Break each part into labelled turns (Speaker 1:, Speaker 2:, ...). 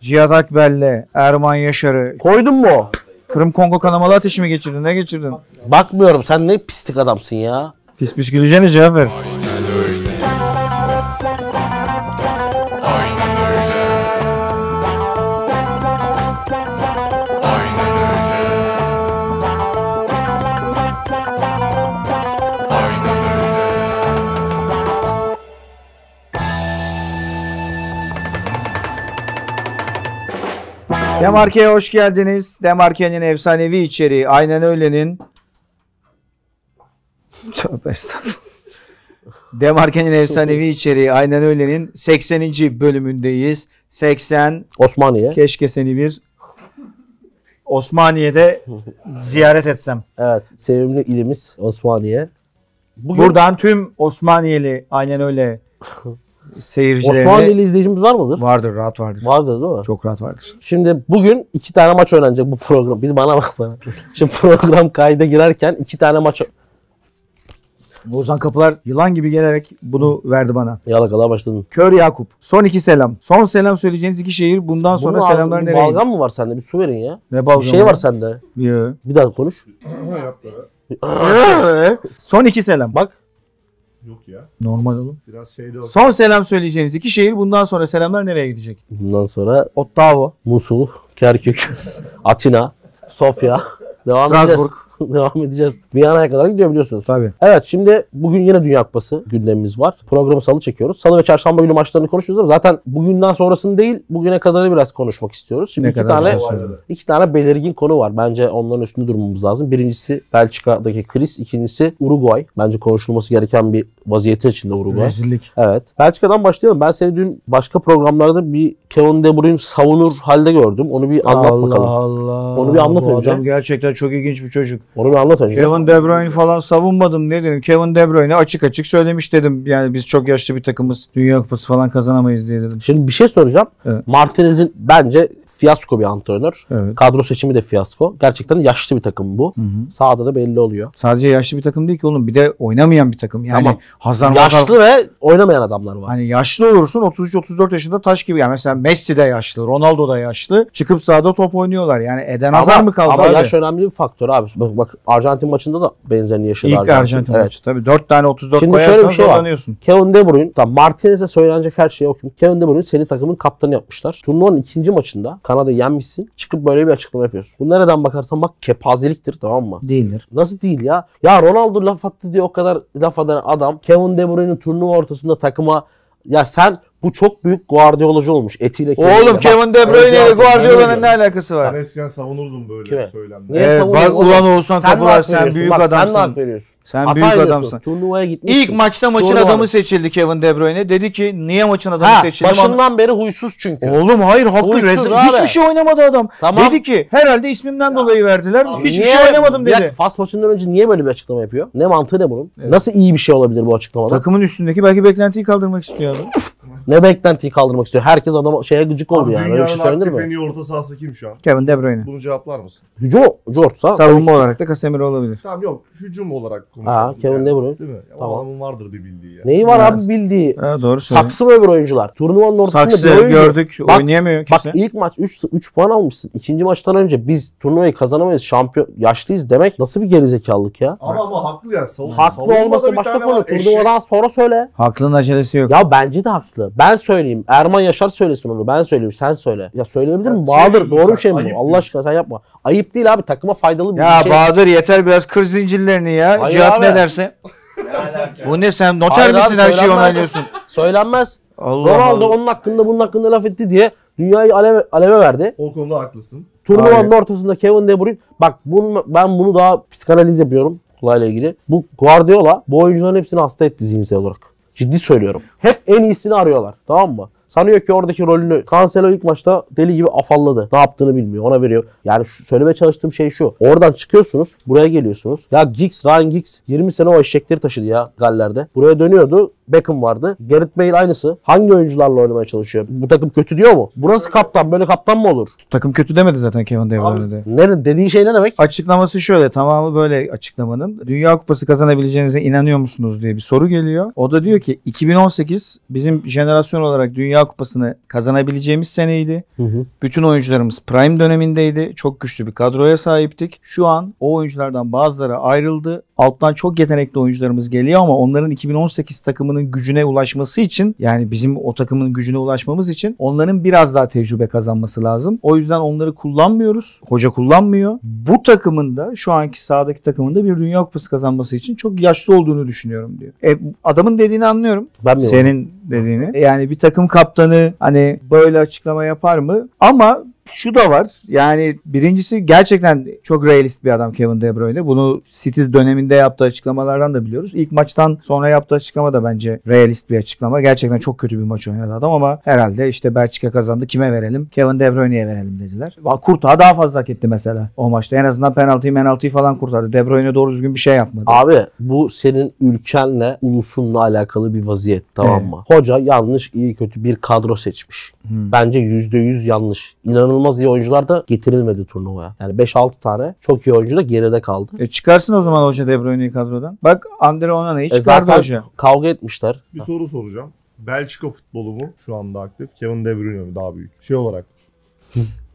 Speaker 1: Cihat Akbel'le, Erman Yaşar'ı,
Speaker 2: Koydun mu? o?
Speaker 1: Kırım Kongo kanamalı ateşi mi geçirdin? Ne geçirdin?
Speaker 2: Bakmıyorum sen ne pislik adamsın ya.
Speaker 1: Pis pis güleceğine cevap ver. Demarke'ye hoş geldiniz. Demarke'nin efsanevi içeriği aynen öyle'nin Tövbe estağfurullah. Demarke'nin efsanevi içeriği aynen öyle'nin 80. bölümündeyiz. 80
Speaker 2: Osmaniye.
Speaker 1: keşke seni bir Osmaniye'de ziyaret etsem.
Speaker 2: Evet. Sevimli ilimiz Osmaniye.
Speaker 1: Buradan tüm Osmaniyeli aynen öyle seyircilerine
Speaker 2: Osmaniyeli izleyicimiz var mıdır?
Speaker 1: vardır rahat vardır.
Speaker 2: Vardır değil mi?
Speaker 1: Çok rahat vardır.
Speaker 2: Şimdi bugün iki tane maç oynanacak bu program. Bir bana bak bana. Şimdi program kayda girerken iki tane maç
Speaker 1: Bozan Kapılar yılan gibi gelerek bunu verdi bana.
Speaker 2: yalakalığa başladın.
Speaker 1: Kör Yakup. Son iki selam. Son selam söyleyeceğiniz iki şehir. Bundan sonra
Speaker 2: Bunun
Speaker 1: selamlar
Speaker 2: ağzında bir
Speaker 1: nereye?
Speaker 2: Balgam mı var sende? Bir su verin ya.
Speaker 1: Ne balgamı
Speaker 2: Bir şey
Speaker 1: ya?
Speaker 2: var sende.
Speaker 1: Yo.
Speaker 2: Bir daha konuş.
Speaker 1: Son iki selam.
Speaker 2: Bak.
Speaker 3: Yok ya.
Speaker 1: Normal oğlum.
Speaker 3: Biraz şey şeyde o.
Speaker 1: Son selam söyleyeceğiniz iki şehir. Bundan sonra selamlar nereye gidecek?
Speaker 2: Bundan sonra
Speaker 1: Ottavo.
Speaker 2: Musul, Kerkük, Atina, Sofya. Devam edeceğiz. Devam edeceğiz. Viyana'ya kadar gidiyor biliyorsunuz.
Speaker 1: Tabii.
Speaker 2: Evet şimdi bugün yine Dünya Kupası gündemimiz var. Programı salı çekiyoruz. Salı ve çarşamba günü maçlarını konuşuyoruz ama zaten bugünden sonrasını değil bugüne kadarı biraz konuşmak istiyoruz. Şimdi
Speaker 1: Ne
Speaker 2: iki
Speaker 1: kadar
Speaker 2: tane
Speaker 1: güzel şey. söyledin.
Speaker 2: iki tane belirgin konu var. Bence onların üstünde durmamız lazım. Birincisi Belçika'daki kriz, ikincisi Uruguay. Bence konuşulması gereken bir vaziyeti içinde Uruguay.
Speaker 1: Rezillik.
Speaker 2: Evet. Belçika'dan başlayalım. Ben seni dün başka programlarda bir Kevin De Bruyne savunur halde gördüm. Onu bir anlat
Speaker 1: Allah
Speaker 2: bakalım.
Speaker 1: Allah.
Speaker 2: Onu bir anlat
Speaker 1: Bu
Speaker 2: önce.
Speaker 1: adam gerçekten çok ilginç bir çocuk.
Speaker 2: Onu bir anlat önce.
Speaker 1: Kevin De Bruyne falan savunmadım ne dedim. Kevin De Bruyne açık açık söylemiş dedim. Yani biz çok yaşlı bir takımız. Dünya Kupası falan kazanamayız diye dedim.
Speaker 2: Şimdi bir şey soracağım.
Speaker 1: Evet.
Speaker 2: Martinez'in bence fiyasko bir antrenör.
Speaker 1: Evet.
Speaker 2: Kadro seçimi de fiyasko. Gerçekten yaşlı bir takım bu. Sahada da belli oluyor.
Speaker 1: Sadece yaşlı bir takım değil ki oğlum. Bir de oynamayan bir takım. Yani
Speaker 2: Tamam.
Speaker 1: Hazar Hazar-
Speaker 2: yaşlı ve oynamayan adamlar var.
Speaker 1: Hani yaşlı olursun 33-34 yaşında taş gibi. Yani mesela Messi de yaşlı, Ronaldo da yaşlı. Çıkıp sahada top oynuyorlar. Yani Eden Hazar mı kaldı
Speaker 2: ama
Speaker 1: abi?
Speaker 2: yaş önemli bir faktör abi. Bak, bak Arjantin maçında da benzerini yaşadı
Speaker 1: İlk Arjantin
Speaker 2: Evet.
Speaker 1: maçı. Tabii 4 tane 34
Speaker 2: Şimdi şöyle bir
Speaker 1: koyarsan
Speaker 2: şey var.
Speaker 1: zorlanıyorsun.
Speaker 2: Kevin De Bruyne, tamam Martinez'e söylenecek her şeye okuyun. Kevin De Bruyne senin takımın kaptanı yapmışlar. Turnuvanın ikinci maçında Kanada'yı yenmişsin. Çıkıp böyle bir açıklama yapıyorsun. Bu nereden bakarsan bak kepazeliktir tamam mı?
Speaker 1: Değildir.
Speaker 2: Nasıl değil ya? Ya Ronaldo laf attı diye o kadar laf eden adam. Kevin De Bruyne'in turnuva ortasında takıma ya sen bu çok büyük Guardiolacı olmuş. Etiyle kemiğiyle.
Speaker 1: Oğlum
Speaker 2: Bak,
Speaker 1: Kevin De Bruyne ile
Speaker 3: Arjantin-
Speaker 1: Guardiola'nın ne alakası var?
Speaker 3: Ben eskiden savunurdum böyle
Speaker 2: Kime?
Speaker 3: bir söylemde.
Speaker 2: niye
Speaker 1: Evet,
Speaker 2: savunuyorsun
Speaker 1: bak
Speaker 2: oğlum?
Speaker 1: ulan Oğuzhan
Speaker 2: Sen mi
Speaker 1: Kabul abi,
Speaker 2: hak
Speaker 1: sen
Speaker 2: veriyorsun?
Speaker 1: büyük
Speaker 2: Bak, Sen
Speaker 1: adamsın.
Speaker 2: mi hak veriyorsun?
Speaker 1: Sen
Speaker 2: Hata
Speaker 1: büyük
Speaker 2: ediyorsunuz.
Speaker 1: adamsın.
Speaker 2: Turnuvaya gitmişsin.
Speaker 1: İlk maçta maçın
Speaker 2: Turnuva-
Speaker 1: adamı seçildi Kevin De Bruyne. Dedi ki niye maçın adamı
Speaker 2: Ha,
Speaker 1: seçildi?
Speaker 2: başından beri huysuz çünkü.
Speaker 1: Oğlum hayır haklı
Speaker 2: Huysuz
Speaker 1: rezil.
Speaker 2: abi.
Speaker 1: Hiçbir şey oynamadı adam.
Speaker 2: Tamam.
Speaker 1: Dedi ki herhalde ismimden dolayı verdiler. Hiçbir
Speaker 2: Niye-
Speaker 1: şey oynamadım
Speaker 2: Ya
Speaker 1: dedi.
Speaker 2: Fas maçından önce niye böyle bir açıklama yapıyor? Ne mantığı ne bunun? Nasıl iyi bir şey olabilir bu açıklamada?
Speaker 1: Takımın üstündeki belki beklentiyi kaldırmak istiyor adam.
Speaker 2: Ne beklentiyi kaldırmak istiyor? Herkes adama şeye gıcık oldu
Speaker 3: Abi
Speaker 2: yani. Öyle bir şey
Speaker 3: Dünyanın
Speaker 2: söylenir
Speaker 3: aktif
Speaker 2: mi?
Speaker 3: en iyi orta sahası kim şu an?
Speaker 1: Kevin De Bruyne.
Speaker 3: Bunu cevaplar mısın?
Speaker 2: Jo, Jortsa.
Speaker 1: Savunma olarak da Casemiro olabilir.
Speaker 3: Tamam yok. Hücum olarak konuşalım.
Speaker 2: Ha, Kevin
Speaker 3: yani.
Speaker 2: De Bruyne.
Speaker 3: Değil mi? Ya,
Speaker 2: Tamam.
Speaker 3: O adamın vardır bir bildiği ya.
Speaker 2: Neyi var
Speaker 1: Evet.
Speaker 2: abi bildiği?
Speaker 1: Ha, doğru söylüyorsun.
Speaker 2: Saksı ve öbür oyuncular. Turnuvanın ortasında
Speaker 1: Saksı
Speaker 2: bir oyuncu.
Speaker 1: gördük.
Speaker 2: Bak-
Speaker 1: oynayamıyor
Speaker 2: Bak
Speaker 1: kimse.
Speaker 2: ilk maç 3 3 puan almışsın. İkinci maçtan önce biz turnuvayı kazanamayız. Şampiyon yaşlıyız demek nasıl bir gerizekalılık ya?
Speaker 3: Ama ama haklı ya. Savun,
Speaker 2: Haklı
Speaker 3: savunmada
Speaker 2: olması
Speaker 3: bir
Speaker 2: başka
Speaker 3: tane
Speaker 2: konu.
Speaker 3: var, eşek.
Speaker 2: Turnuvadan sonra söyle.
Speaker 1: Aklın acelesi yok.
Speaker 2: Ya bence de haklı. Ben söyleyeyim. Erman Yaşar söylesin onu. Ben söyleyeyim. Sen söyle. Ya söyleyebilir
Speaker 3: Ya
Speaker 2: miyim?
Speaker 3: şey
Speaker 2: Bahadır
Speaker 3: diyorsun
Speaker 2: doğru
Speaker 3: sen,
Speaker 2: bir şey mi
Speaker 3: ayıp
Speaker 2: bu? Allah
Speaker 3: diyorsun.
Speaker 2: aşkına sen yapma. Ayıp değil abi. Takıma faydalı bir
Speaker 1: Ya
Speaker 2: şey.
Speaker 1: Bahadır yeter biraz kır zincirlerini ya.
Speaker 2: Hayır
Speaker 1: Cihat
Speaker 2: abi.
Speaker 1: ne derse. Bu ne sen noter
Speaker 2: Hayır abi,
Speaker 1: misin her şeyi
Speaker 2: söylenmez.
Speaker 1: onaylıyorsun?
Speaker 2: Söylenmez.
Speaker 1: Allah
Speaker 2: Ronaldo
Speaker 1: Allah.
Speaker 2: onun hakkında bunun hakkında laf etti diye dünyayı aleve, aleve verdi.
Speaker 3: O konuda haklısın.
Speaker 2: Turnuvanın ortasında Kevin De Bruyne bak bunu, ben bunu daha psikanaliz yapıyorum olayla ilgili. Bu Guardiola bu oyuncuların hepsini hasta etti zihinsel olarak. Ciddi söylüyorum. Hep en iyisini arıyorlar. Tamam mı? Sanıyor ki oradaki rolünü Cancelo ilk maçta deli gibi afalladı. Ne yaptığını bilmiyor. Ona veriyor. Yani şu, söylemeye çalıştığım şey şu. Oradan çıkıyorsunuz. Buraya geliyorsunuz. Ya Giggs, Ryan Giggs 20 sene o eşekleri taşıdı ya Galler'de. Buraya dönüyordu. Beckham vardı. Gareth Bale aynısı. Hangi oyuncularla oynamaya çalışıyor? Bu takım kötü diyor mu? Burası kaptan. Böyle kaptan mı olur?
Speaker 1: Takım kötü demedi zaten Kevin De
Speaker 2: Abi,
Speaker 1: Bruyne de.
Speaker 2: ne, dediği şey ne demek?
Speaker 1: Açıklaması şöyle tamamı böyle açıklamanın. Dünya Kupası kazanabileceğinize inanıyor musunuz diye bir soru geliyor. O da diyor ki 2018 bizim jenerasyon olarak Dünya Kupası'nı kazanabileceğimiz seneydi. Bütün oyuncularımız prime dönemindeydi. Çok güçlü bir kadroya sahiptik. Şu an o oyunculardan bazıları ayrıldı. Alttan çok yetenekli oyuncularımız geliyor ama onların 2018 takımının gücüne ulaşması için yani bizim o takımın gücüne ulaşmamız için onların biraz daha tecrübe kazanması lazım. O yüzden onları kullanmıyoruz. Hoca kullanmıyor. Bu takımın da şu anki sahadaki takımında bir Dünya Kupası kazanması için çok yaşlı olduğunu düşünüyorum diyor. E, adamın dediğini anlıyorum.
Speaker 2: Ben mi?
Speaker 1: Senin dediğini. Yani bir takım kaptanı hani böyle açıklama yapar mı? Ama şu da var. Yani birincisi gerçekten çok realist bir adam Kevin De Bruyne. Bunu City döneminde yaptığı açıklamalardan da biliyoruz. İlk maçtan sonra yaptığı açıklama da bence realist bir açıklama. Gerçekten çok kötü bir maç oynadı adam ama herhalde işte Belçika kazandı. Kime verelim? Kevin De Bruyne'ye verelim dediler. Va- Kurtağı daha fazla hak etti mesela o maçta. En azından penaltıyı penaltıyı falan kurtardı. De Bruyne doğru düzgün bir şey yapmadı.
Speaker 2: Abi bu senin ülkenle, ulusunla alakalı bir vaziyet tamam
Speaker 1: Evet.
Speaker 2: mı? Hoca yanlış, iyi kötü bir kadro seçmiş.
Speaker 1: Hmm.
Speaker 2: Bence %100 yanlış. İnanılmaz iyi oyuncular da getirilmedi turnuvaya. Yani 5-6 tane çok iyi oyuncu da geride kaldı.
Speaker 1: E çıkarsın o zaman hoca De Bruyne'yi kadrodan. Bak Andre Onana'yı
Speaker 2: E
Speaker 1: çıkardı
Speaker 2: zaten
Speaker 1: hoca.
Speaker 2: Kavga etmişler.
Speaker 3: Bir soru soracağım. Belçika futbolu mu şu anda aktif? Kevin De Bruyne mi daha büyük? Şey olarak.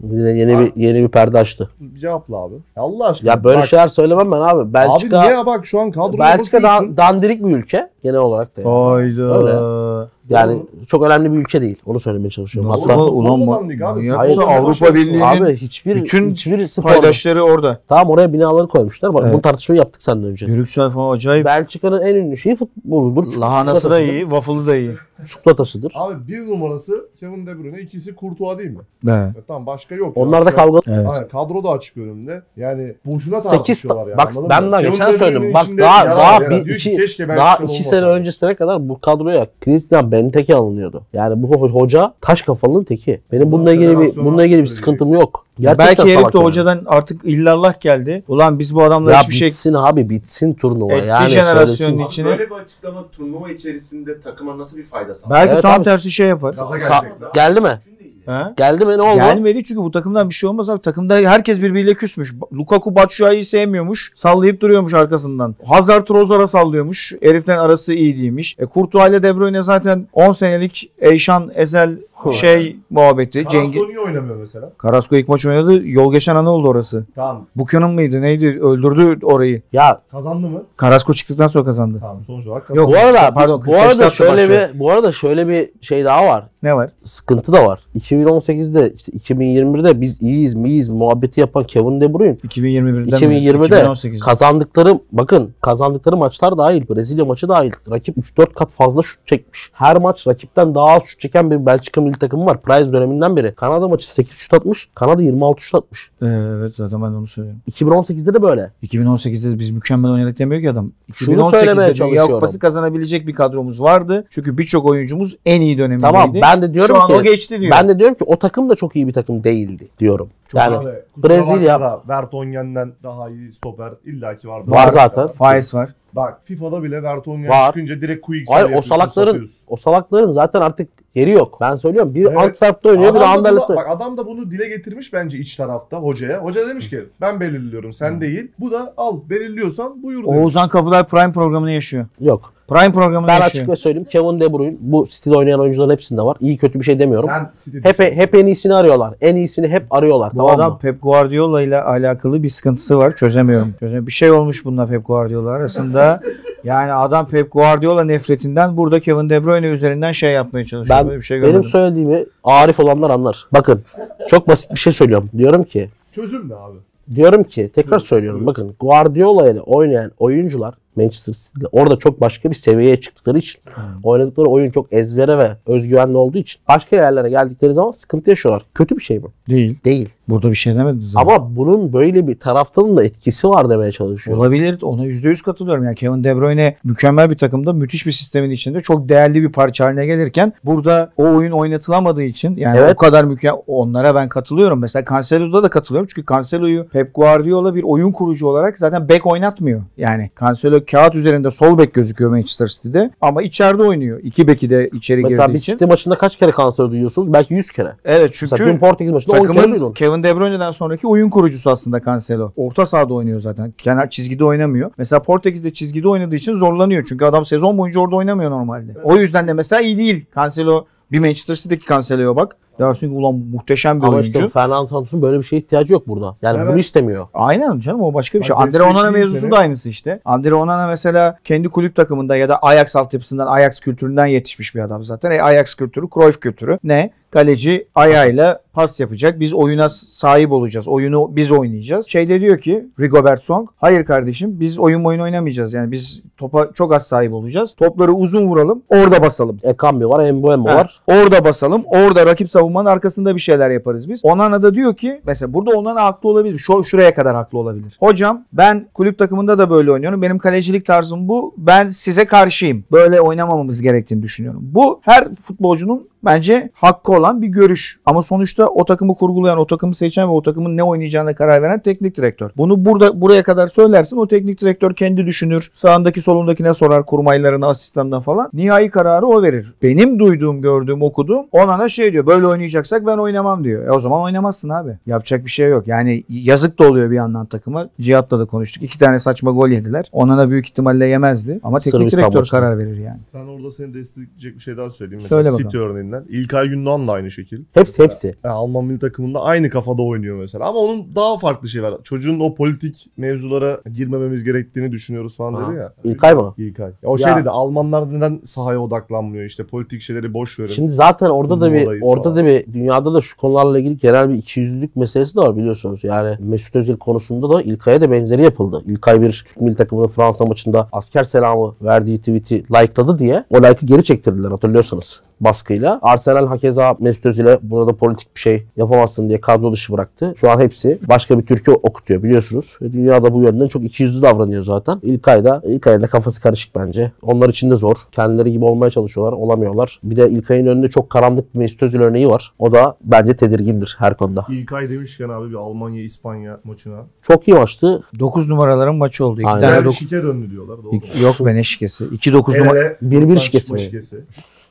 Speaker 2: Yine yeni bir yeni bir perde açtı.
Speaker 3: Bir cevapla abi. Ya Allah aşkına.
Speaker 2: Ya böyle
Speaker 3: bak,
Speaker 2: şeyler söylemem ben abi. Belçika
Speaker 3: Abi niye ya? bak şu an kadroya
Speaker 2: Belçika dan-
Speaker 3: bakıyorsun.
Speaker 2: dandirik bir ülke genel olarak da. yani.
Speaker 1: Hayda.
Speaker 2: Yani çok önemli bir ülke değil. Onu söylemeye çalışıyorum.
Speaker 1: Nasıl
Speaker 2: Hatta
Speaker 1: lan? ulan
Speaker 3: Futbolda
Speaker 1: ma-
Speaker 3: dandik abi.
Speaker 1: manyak
Speaker 3: Futbolda
Speaker 1: mısın?
Speaker 3: başarısın.
Speaker 1: Avrupa Birliği'nin
Speaker 2: abi hiçbir
Speaker 1: bütün
Speaker 2: hiçbir spor
Speaker 1: Paydaşları orada.
Speaker 2: Tamam oraya binaları koymuşlar. Bak
Speaker 1: Evet.
Speaker 2: bu tartışmayı yaptık senden önce.
Speaker 1: Brüksel falan acayip.
Speaker 2: Belçika'nın en ünlü şeyi futboludur.
Speaker 1: Lahanası da
Speaker 2: Çikolatasıdır.
Speaker 1: iyi, waffle'ı da iyi.
Speaker 2: Çikolatasıdır.
Speaker 3: Abi bir numarası Kevin De Bruyne, ikisi Courtois değil mi?
Speaker 1: Evet.
Speaker 3: Ya tamam başka yok. ya.
Speaker 2: Onlar da
Speaker 3: Şu an-
Speaker 2: kavga
Speaker 1: Evet.
Speaker 3: Aynen, kadro da açık önümde. Yani boşuna
Speaker 2: Sekiz
Speaker 3: tartışıyorlar
Speaker 2: ta-
Speaker 3: yani.
Speaker 2: bak,
Speaker 3: anladın
Speaker 2: ben
Speaker 3: mı?
Speaker 2: daha
Speaker 3: Kevin
Speaker 2: geçen
Speaker 3: De Bruyne'nin
Speaker 2: söyledim. Bak,
Speaker 3: içinde
Speaker 2: daha-
Speaker 3: yarar
Speaker 2: daha
Speaker 3: var.
Speaker 2: bir-
Speaker 3: Diyor ki,
Speaker 2: iki-
Speaker 3: keşke ben
Speaker 2: Daha iki
Speaker 3: şöyle olmasaydım.
Speaker 2: sene öncesine kadar bu kadroya Christian Benteke alınıyordu. Yani bu ho- hoca taş kafalının teki. Benim
Speaker 3: Bu
Speaker 2: bununla ilgili bir
Speaker 3: federasyona
Speaker 2: bununla ilgili bir
Speaker 3: söyleyeceksin.
Speaker 2: sıkıntım yok.
Speaker 1: Belki herif
Speaker 2: salak
Speaker 1: de
Speaker 2: yani.
Speaker 1: hocadan artık illallah geldi. Ulan biz bu adamla
Speaker 2: ya
Speaker 1: hiçbir şey
Speaker 2: bitsin abi bitsin turnuva
Speaker 1: Etti
Speaker 2: yani
Speaker 1: jenerasyonu
Speaker 2: söylesin.
Speaker 1: için. içine-
Speaker 4: Böyle bir açıklama turnuva içerisinde takıma nasıl bir fayda sağlar?
Speaker 1: belki
Speaker 2: Evet
Speaker 1: tam
Speaker 2: abi,
Speaker 1: tersi şey yapar.
Speaker 3: Gaza
Speaker 2: Sa-
Speaker 3: gelecek zaten.
Speaker 2: geldi mi?
Speaker 4: Mümkün değil.
Speaker 1: Ha?
Speaker 2: Geldi mi ne oldu?
Speaker 1: Gelmedi çünkü bu takımdan bir şey olmaz abi. Takımda herkes birbiriyle küsmüş. Lukaku Batshuayi'yi sevmiyormuş. Sallayıp duruyormuş arkasından. Hazard Rozor'a sallıyormuş. Heriflerin arası iyi değilmiş. E, Courtois ile De Bruyne zaten 10 senelik Eyşan Ezel şey muhabbeti.
Speaker 3: Carrasco
Speaker 1: Cengiz.
Speaker 3: niye oynamıyor mesela?
Speaker 1: Carrasco ilk maç oynadı. Yol geçen ana oldu orası.
Speaker 3: Tamam
Speaker 1: Buchanan mıydı neydi? Öldürdü orayı.
Speaker 2: Ya
Speaker 3: kazandı mı?
Speaker 1: Carrasco çıktıktan sonra kazandı.
Speaker 3: Tamam sonuç olarak kazandı.
Speaker 1: Yok.
Speaker 2: bu arada
Speaker 1: Pardon,
Speaker 2: bu arada
Speaker 1: Beşiktaş'la
Speaker 2: şöyle
Speaker 1: başlıyor.
Speaker 2: bir bu arada şöyle bir şey daha var.
Speaker 1: Ne var?
Speaker 2: sıkıntı da var. 2018'de işte 2021'de biz iyiyiz miyiz muhabbeti yapan Kevin De Bruyne
Speaker 1: 2021'den
Speaker 2: 2020'de
Speaker 1: 2018'de.
Speaker 2: kazandıkları bakın kazandıkları maçlar dahil Brezilya maçı dahil rakip 3-4 kat fazla şut çekmiş. Her maç rakipten daha az şut çeken bir Belçika milli takımı var. Price döneminden beri. Kanada maçı 8 şut atmış. Kanada 26 şut atmış.
Speaker 1: evet zaten ben onu söylüyorum.
Speaker 2: 2018'de de böyle.
Speaker 1: 2018'de biz mükemmel oynadık demiyor ki adam.
Speaker 2: Şunu söylemeye
Speaker 1: 2018'de Dünya
Speaker 2: çalışıyorum.
Speaker 1: Kupası kazanabilecek bir kadromuz vardı. Çünkü birçok oyuncumuz en iyi dönemindeydi.
Speaker 2: Tamam ben de diyorum
Speaker 1: Şu an
Speaker 2: ki
Speaker 1: o geçti diyor.
Speaker 2: ben de diyorum ki o takım da çok iyi bir takım değildi diyorum.
Speaker 3: Çok
Speaker 2: yani
Speaker 3: abi, kusura
Speaker 2: Brezilya-
Speaker 3: bakma da Vertonghen'den daha iyi stoper illaki vardır.
Speaker 2: Var zaten.
Speaker 1: Faiz var.
Speaker 3: Bak FIFA'da bile Vertonghen
Speaker 2: Var.
Speaker 3: çıkınca direkt Quicksilver
Speaker 2: Hayır, o
Speaker 3: yapıyorsun,
Speaker 2: salakların
Speaker 3: satıyorsun.
Speaker 2: o salakların zaten artık yeri yok. Ben söylüyorum. Biri
Speaker 3: Evet.
Speaker 2: Antwerp'te oynuyor, biri
Speaker 3: Adam da, bunu,
Speaker 2: Anderlecht'te.
Speaker 3: bak adam da bunu dile getirmiş bence iç tarafta hocaya. Hoca demiş ki ben belirliyorum sen değil. Bu da al belirliyorsan buyur demiş.
Speaker 1: Oğuzhan Kapılar Prime programını yaşıyor.
Speaker 2: Yok.
Speaker 1: Prime programını
Speaker 2: Ben
Speaker 1: yaşıyor.
Speaker 2: açık ve söyleyeyim. Kevin De Bruyne bu City'de oynayan oyuncuların hepsinde var. İyi kötü bir şey demiyorum.
Speaker 3: Sen City
Speaker 2: hep
Speaker 3: düşün.
Speaker 2: hep en iyisini arıyorlar. En iyisini hep arıyorlar.
Speaker 1: Bu
Speaker 2: tamam
Speaker 1: adam
Speaker 2: mı?
Speaker 1: Pep Guardiola ile alakalı bir sıkıntısı var. Çözemiyorum. Çözemiyorum. Bir şey olmuş bununla Pep Guardiola arasında. yani adam Pep Guardiola nefretinden burada Kevin De Bruyne üzerinden şey yapmaya çalışıyor.
Speaker 2: Ben
Speaker 1: Böyle bir şey
Speaker 2: benim
Speaker 1: görmedim.
Speaker 2: söylediğimi arif olanlar anlar. Bakın çok basit bir şey söylüyorum. Diyorum ki
Speaker 3: Çözüm ne abi?
Speaker 2: diyorum ki tekrar
Speaker 3: Buyurun,
Speaker 2: söylüyorum.
Speaker 3: buyurun.
Speaker 2: Bakın Guardiola ile oynayan oyuncular Manchester City'de orada çok başka bir seviyeye çıktıkları için oynadıkları oyun çok ezbere ve özgüvenli olduğu için başka yerlere geldikleri zaman sıkıntı yaşıyorlar. Kötü bir şey mi?
Speaker 1: Değil.
Speaker 2: Değil.
Speaker 1: Burada bir şey demedin zaten.
Speaker 2: Ama bunun böyle bir taraftanın da etkisi var demeye çalışıyorum.
Speaker 1: Olabilir. Ona %100 katılıyorum. Yani Kevin De Bruyne mükemmel bir takımda müthiş bir sistemin içinde çok değerli bir parça haline gelirken burada o oyun oynatılamadığı için yani
Speaker 2: Evet.
Speaker 1: o kadar mükemmel onlara ben katılıyorum. Mesela Cancelo'da da katılıyorum. Çünkü Cancelo'yu Pep Guardiola bir oyun kurucu olarak zaten bek oynatmıyor. Yani Cancelo Guardiola kağıt üzerinde sol bek gözüküyor Manchester City'de ama içeride oynuyor. İki beki de içeri
Speaker 2: Mesela
Speaker 1: girdiği
Speaker 2: bir
Speaker 1: için.
Speaker 2: City maçında kaç kere kanser duyuyorsunuz? Belki 100 kere.
Speaker 1: Evet
Speaker 2: Mesela dün
Speaker 1: çünkü
Speaker 2: Portekiz maçında 10 kere duydun.
Speaker 1: takımın Kevin De Bruyne'den sonraki oyun kurucusu aslında Cancelo. Orta sahada oynuyor zaten. Kenar çizgide oynamıyor. Mesela Portekiz'de çizgide oynadığı için zorlanıyor. Çünkü adam sezon boyunca orada oynamıyor normalde. O yüzden de mesela iyi değil. Cancelo bir Manchester City'deki Cancelo'ya bak. Dersin ki ulan muhteşem bir
Speaker 2: Ama
Speaker 1: oyuncu.
Speaker 2: işte Fernando Santos'un böyle bir şeye ihtiyacı yok burada. Yani
Speaker 3: Evet.
Speaker 2: bunu istemiyor.
Speaker 1: Aynen canım o başka bir
Speaker 3: Ben
Speaker 1: şey. Andre Onana
Speaker 3: destekleyeyim
Speaker 1: mevzusu
Speaker 3: seni.
Speaker 1: da aynısı işte. Andre Onana mesela kendi kulüp takımında ya da Ajax altyapısından, Ajax kültüründen yetişmiş bir adam zaten. E, Ajax kültürü, Cruyff kültürü. Ne? Kaleci ayağıyla pas yapacak. Biz oyuna sahip olacağız. Oyunu biz oynayacağız. Şeyde diyor ki Rigobert Song. Hayır kardeşim biz oyun oyun oynamayacağız. Yani biz topa çok az sahip olacağız. Topları uzun vuralım. Orada basalım.
Speaker 2: Ekambi var, Embuemo
Speaker 1: Ha,
Speaker 2: var.
Speaker 1: Orada basalım. Orada rakip savunmanın arkasında bir şeyler yaparız biz. Onana da diyor ki mesela burada Onana haklı olabilir. Şu, şuraya kadar haklı olabilir. Hocam ben kulüp takımında da böyle oynuyorum. Benim kalecilik tarzım bu. Ben size karşıyım. Böyle oynamamamız gerektiğini düşünüyorum. Bu her futbolcunun bence hakkı olan bir görüş. Ama sonuçta o takımı kurgulayan, o takımı seçen ve o takımın ne oynayacağına karar veren teknik direktör. Bunu burada buraya kadar söylersin. O teknik direktör kendi düşünür. Sağındaki solundakine sorar kurmaylarına, asistanına falan. Nihai kararı o verir. Benim duyduğum, gördüğüm, okuduğum Onana şey diyor. Böyle oynayacaksak ben oynamam diyor. E o zaman oynamazsın abi. Yapacak bir şey yok. Yani yazık da oluyor bir yandan takıma. Cihat'la da konuştuk. İki tane saçma gol yediler. Onana büyük ihtimalle yemezdi. Ama teknik
Speaker 2: Sırbistan
Speaker 1: direktör
Speaker 2: maçında.
Speaker 1: karar verir yani.
Speaker 3: Ben orada seni destekleyecek bir şey daha söyleyeyim. Mesela
Speaker 1: Söyle
Speaker 3: City örneğinden. İlkay Gündoğan'la aynı şekil.
Speaker 2: Hepsi hepsi.
Speaker 3: Yani Alman milli takımında aynı kafada oynuyor mesela. Ama onun daha farklı şey var. Çocuğun o politik mevzulara girmememiz gerektiğini düşünüyoruz falan dedi ya.
Speaker 2: İlkay mı?
Speaker 3: İlkay. Ya o
Speaker 2: Ya.
Speaker 3: şey dedi Almanlar neden sahaya odaklanmıyor işte politik şeyleri boş verin.
Speaker 2: Şimdi zaten orada da bir
Speaker 3: Modayız
Speaker 2: orada
Speaker 3: falan.
Speaker 2: da bir dünyada da şu konularla ilgili genel bir ikiyüzlülük meselesi de var biliyorsunuz. Yani Mesut Özil konusunda da İlkay'a da benzeri yapıldı. İlkay bir Türk milli takımının Fransa maçında asker selamı verdiği tweet'i like'ladı diye o like'ı geri çektirdiler hatırlıyorsanız baskıyla. Arsenal hakeza Mesut Özil'e burada politik bir şey yapamazsın diye kadro dışı bıraktı. Şu an hepsi başka bir türkü okutuyor biliyorsunuz. Ve Dünyada bu yönden çok ikiyüzlü davranıyor zaten. İlkay da, İlkay'ın da kafası karışık bence. Onlar için de zor. Kendileri gibi olmaya çalışıyorlar, olamıyorlar. Bir de İlkay'ın önünde çok karanlık bir Mesut Özil örneği var. O da bence tedirgindir her konuda.
Speaker 3: İlkay demişken abi bir Almanya-İspanya maçına.
Speaker 2: Çok iyi maçtı.
Speaker 1: 9 numaraların maçı oldu. İki
Speaker 2: Aynen.
Speaker 1: tane
Speaker 3: Güzel
Speaker 1: dokuz-
Speaker 3: şike döndü diyorlar. Doğru. mu?
Speaker 1: İki- Yok be ne şikesi. 2-9
Speaker 3: El
Speaker 1: numara.
Speaker 3: ele
Speaker 2: Bir-bir
Speaker 3: maç
Speaker 2: şikesi mi?
Speaker 3: şikesi.